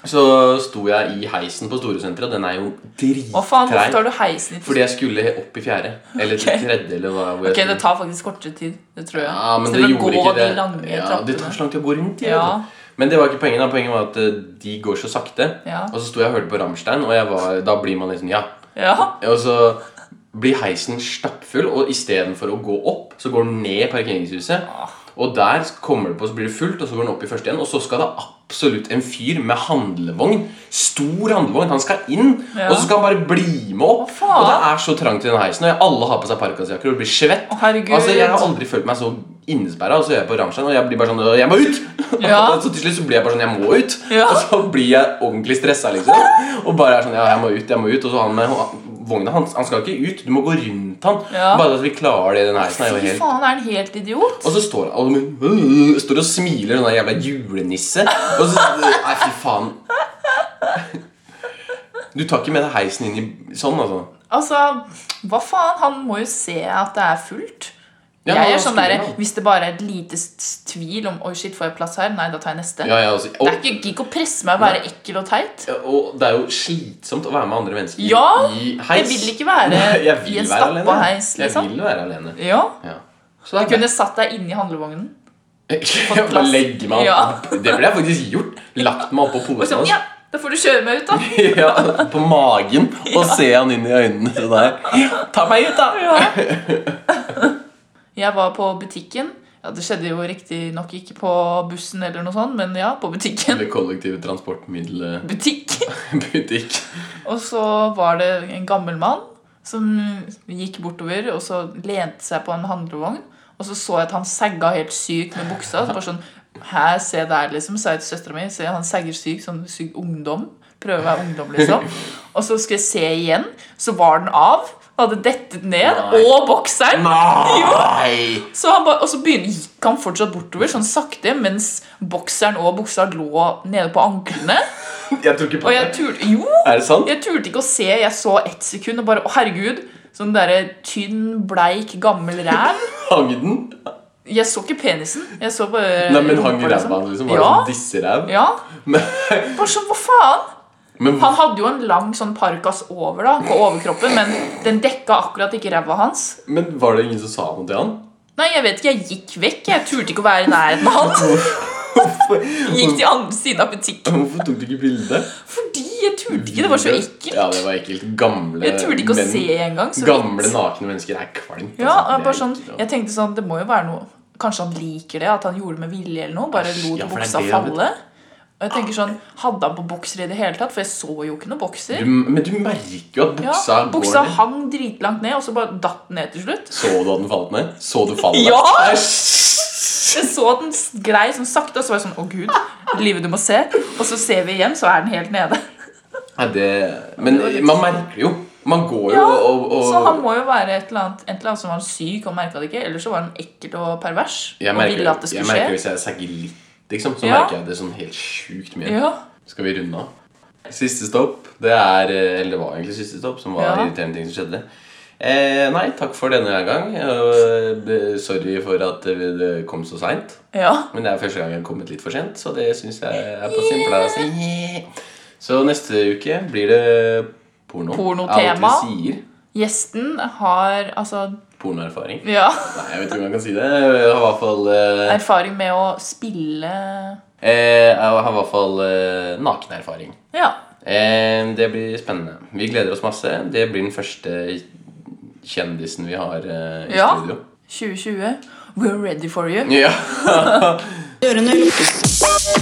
[SPEAKER 1] Så sto jeg i heisen på Storesenteret, og den er jo drittreg.
[SPEAKER 4] Hva faen, hvorfor tar du heisen hit?
[SPEAKER 1] Fordi jeg skulle opp i fjerde. Eller til tredje, eller hva. hvor jeg
[SPEAKER 4] Ok,
[SPEAKER 1] skulle.
[SPEAKER 4] Det tar faktisk kortere tid. Det tror jeg.
[SPEAKER 1] Ja, men
[SPEAKER 4] Så
[SPEAKER 1] det
[SPEAKER 4] vil
[SPEAKER 1] gjorde
[SPEAKER 4] gå
[SPEAKER 1] ikke det.
[SPEAKER 4] De lange
[SPEAKER 1] ja,
[SPEAKER 4] trappene.
[SPEAKER 1] det tar så lang tid å gå rundt. i, vet du.
[SPEAKER 4] Ja.
[SPEAKER 1] Men det var ikke poenget. da Poenget var at eh, de går så sakte.
[SPEAKER 4] Ja.
[SPEAKER 1] Og så sto jeg og hørte på Rammstein, og jeg var, da blir man liksom Ja.
[SPEAKER 4] Ja.
[SPEAKER 1] Og så blir heisen stappfull, og istedenfor å gå opp, så går den ned i parkeringshuset. Og der kommer det på, så blir det fullt, og så går den opp i første igjen. Og så skal det absolutt en fyr med handlevogn, stor handlevogn, han skal inn.
[SPEAKER 4] Ja.
[SPEAKER 1] Og så skal han bare bli med opp.
[SPEAKER 4] Å, faen.
[SPEAKER 1] og det er så trangt i den heisen, og jeg, alle har på seg parkasjakker og blir svett.
[SPEAKER 4] Å, herregud.
[SPEAKER 1] altså, jeg har aldri følt meg så innesperra, og så er jeg på Rammstein, og jeg blir bare sånn «Øh, Jeg må ut!
[SPEAKER 4] Ja.
[SPEAKER 1] og så til slutt så blir jeg bare sånn Jeg må ut!
[SPEAKER 4] Ja.
[SPEAKER 1] Og så blir jeg ordentlig stressa, liksom. Og bare er sånn Ja, jeg må ut, jeg må ut. Og så han med vogna, han, han skal ikke ut. Du må gå rundt han.
[SPEAKER 4] Ja.
[SPEAKER 1] Bare at vi klarer det i den heisen, er jo
[SPEAKER 4] Fy
[SPEAKER 1] helt
[SPEAKER 4] faen, er han helt idiot?
[SPEAKER 1] og så står han og, de- står og smiler sånn der jævla julenisse. Og så Nei, fy faen. Du tar ikke med deg heisen inn i sånn, altså.
[SPEAKER 4] Altså, hva faen? Han må jo se at det er fullt.
[SPEAKER 1] Ja,
[SPEAKER 4] jeg
[SPEAKER 1] han
[SPEAKER 4] er sånn
[SPEAKER 1] skulle
[SPEAKER 4] der,
[SPEAKER 1] jo.
[SPEAKER 4] Hvis det bare er et lite s- tvil om Oi, shit, får jeg plass her? Nei, da tar jeg neste.
[SPEAKER 1] Ja, ja, altså,
[SPEAKER 4] Det
[SPEAKER 1] og,
[SPEAKER 4] er ikke gikk å presse meg å være ekkel og teit.
[SPEAKER 1] og det er jo slitsomt å være med andre mennesker
[SPEAKER 4] Ja,
[SPEAKER 1] i
[SPEAKER 4] Jeg
[SPEAKER 1] heis.
[SPEAKER 4] vil ikke være
[SPEAKER 1] Nei, jeg vil
[SPEAKER 4] i en
[SPEAKER 1] være
[SPEAKER 4] stappa
[SPEAKER 1] alene.
[SPEAKER 4] heis, liksom.
[SPEAKER 1] Jeg vil være alene.
[SPEAKER 4] Ja,
[SPEAKER 1] Ja. Så det
[SPEAKER 4] Du
[SPEAKER 1] er
[SPEAKER 4] kunne satt deg inni handlevognen.
[SPEAKER 1] Jeg bare legger meg opp.
[SPEAKER 4] Ja.
[SPEAKER 1] Det ville jeg faktisk gjort. Lagt meg oppå
[SPEAKER 4] Og
[SPEAKER 1] posen
[SPEAKER 4] sånn,
[SPEAKER 1] hans.
[SPEAKER 4] ja, Da får du kjøre meg ut, da.
[SPEAKER 1] Ja, på magen og se han inn i øynene sånn her. Ta meg ut, da!
[SPEAKER 4] Ja. Jeg var på butikken. Ja, Det skjedde jo riktignok ikke på bussen, eller noe sånt, men ja, på butikken.
[SPEAKER 1] Eller kollektive transportmiddelbutikk.
[SPEAKER 4] Butikk. Og så var det en gammel mann som gikk bortover og så lente seg på en handlevogn. Og så så jeg at han sagga helt sykt med buksa. Så bare sånn, Hæ, se der, liksom, sa jeg til søstera mi. Se, han sagger sykt, sånn syk ungdom. Prøver å være ungdom, liksom. Og så skulle jeg se igjen, så var den av. Hadde dettet ned.
[SPEAKER 1] Nei.
[SPEAKER 4] Og bokseren.
[SPEAKER 1] Nei!
[SPEAKER 4] Så han ba, og så begynner, gikk han fortsatt bortover, sånn sakte, mens bokseren og buksa lå nede på anklene.
[SPEAKER 1] Jeg tror ikke
[SPEAKER 4] Og
[SPEAKER 1] på
[SPEAKER 4] jeg
[SPEAKER 1] det.
[SPEAKER 4] turte Jo!
[SPEAKER 1] Er det sant?
[SPEAKER 4] Jeg turte ikke å se. Jeg så ett sekund og bare Å, herregud! Sånn derre tynn, bleik, gammel ræv.
[SPEAKER 1] Hang den?
[SPEAKER 4] Jeg så ikke penisen. Jeg så bare
[SPEAKER 1] Nei, men hang
[SPEAKER 4] rumpa,
[SPEAKER 1] i ræva hans, liksom? Var det
[SPEAKER 4] Ja.
[SPEAKER 1] sånn disseræv?
[SPEAKER 4] Ja.
[SPEAKER 1] Men,
[SPEAKER 4] Bare sånn, hva faen?
[SPEAKER 1] men
[SPEAKER 4] Han hadde jo en lang sånn parkas over da, på overkroppen, men den dekka akkurat ikke ræva hans.
[SPEAKER 1] Men var det ingen som sa noe til han?
[SPEAKER 4] Nei, jeg vet ikke. Jeg gikk vekk. Jeg turte ikke å være i nærheten av han. Gikk til andre siden av butikken.
[SPEAKER 1] Hvorfor tok du ikke bilde?
[SPEAKER 4] Fordi jeg turte ikke. Det var så ekkelt.
[SPEAKER 1] Ja, det var ekkelt. Gamle
[SPEAKER 4] Jeg turte ikke å
[SPEAKER 1] menn.
[SPEAKER 4] se engang. så
[SPEAKER 1] Gamle,
[SPEAKER 4] vidt.
[SPEAKER 1] nakne mennesker er kvalmt.
[SPEAKER 4] Ja,
[SPEAKER 1] altså. Det
[SPEAKER 4] jeg,
[SPEAKER 1] er
[SPEAKER 4] bare sånn,
[SPEAKER 1] ekkelt, ja.
[SPEAKER 4] jeg tenkte sånn, det må jo være noe Kanskje han liker det, at han gjorde det med vilje eller noe? Bare lot
[SPEAKER 1] Ja, for det er
[SPEAKER 4] buksa
[SPEAKER 1] det, vet du.
[SPEAKER 4] falle? Og jeg tenker sånn, Hadde han på bokser i det hele tatt? For jeg så jo ikke noe
[SPEAKER 1] Du,
[SPEAKER 4] bokser.
[SPEAKER 1] men du merker jo at
[SPEAKER 4] Ja,
[SPEAKER 1] buksa
[SPEAKER 4] buksa
[SPEAKER 1] går ned.
[SPEAKER 4] hang dritlangt ned, og så bare datt den ned til slutt.
[SPEAKER 1] Så du at den falt ned? Så du fallet?
[SPEAKER 4] Ja!
[SPEAKER 1] Æsj!
[SPEAKER 4] Jeg så at den s- glei sånn sakte, og så var jeg sånn Å, gud. Livet du må se. Og så ser vi igjen, så er den helt nede.
[SPEAKER 1] Nei, det, men man merker jo. Man går jo
[SPEAKER 4] Ja,
[SPEAKER 1] og, og
[SPEAKER 4] Så han må jo være et eller annet, et eller annet som var syk og merka det ikke. Eller så var han ekkel og pervers
[SPEAKER 1] jeg
[SPEAKER 4] og
[SPEAKER 1] merker,
[SPEAKER 4] ville at det
[SPEAKER 1] jeg
[SPEAKER 4] skulle
[SPEAKER 1] merker
[SPEAKER 4] skje.
[SPEAKER 1] hvis jeg sagger litt, liksom, så
[SPEAKER 4] Ja.
[SPEAKER 1] merker jeg det sånn helt sjukt mye.
[SPEAKER 4] Ja,
[SPEAKER 1] Skal vi runde av? Siste stopp, det er eh, Eller det var egentlig siste stopp, som var
[SPEAKER 4] Ja.
[SPEAKER 1] irriterende ting som skjedde. Eh, nei, takk for denne gang. Eh, be- Sorry for at det det kom så seint.
[SPEAKER 4] ja.
[SPEAKER 1] Men det er første gang jeg har kommet litt for sent, så det syns jeg er på sin plass. Yeah. Så neste uke blir det porno.
[SPEAKER 4] Pornotema.
[SPEAKER 1] Av og til sier
[SPEAKER 4] Gjesten har altså
[SPEAKER 1] pornoerfaring.
[SPEAKER 4] ja,
[SPEAKER 1] Nei, jeg vet ikke om jeg kan si det. Jeg har i hvert fall eh,
[SPEAKER 4] erfaring med å spille
[SPEAKER 1] eh, Jeg har i hvert fall eh, nakenerfaring.
[SPEAKER 4] Ja.
[SPEAKER 1] Eh, det blir spennende. Vi gleder oss masse. Det blir den første kjendisen vi har eh, i
[SPEAKER 4] Ja.
[SPEAKER 1] studio.
[SPEAKER 4] 2020. We're ready for you.
[SPEAKER 1] Ja.
[SPEAKER 2] Dørene lukkes.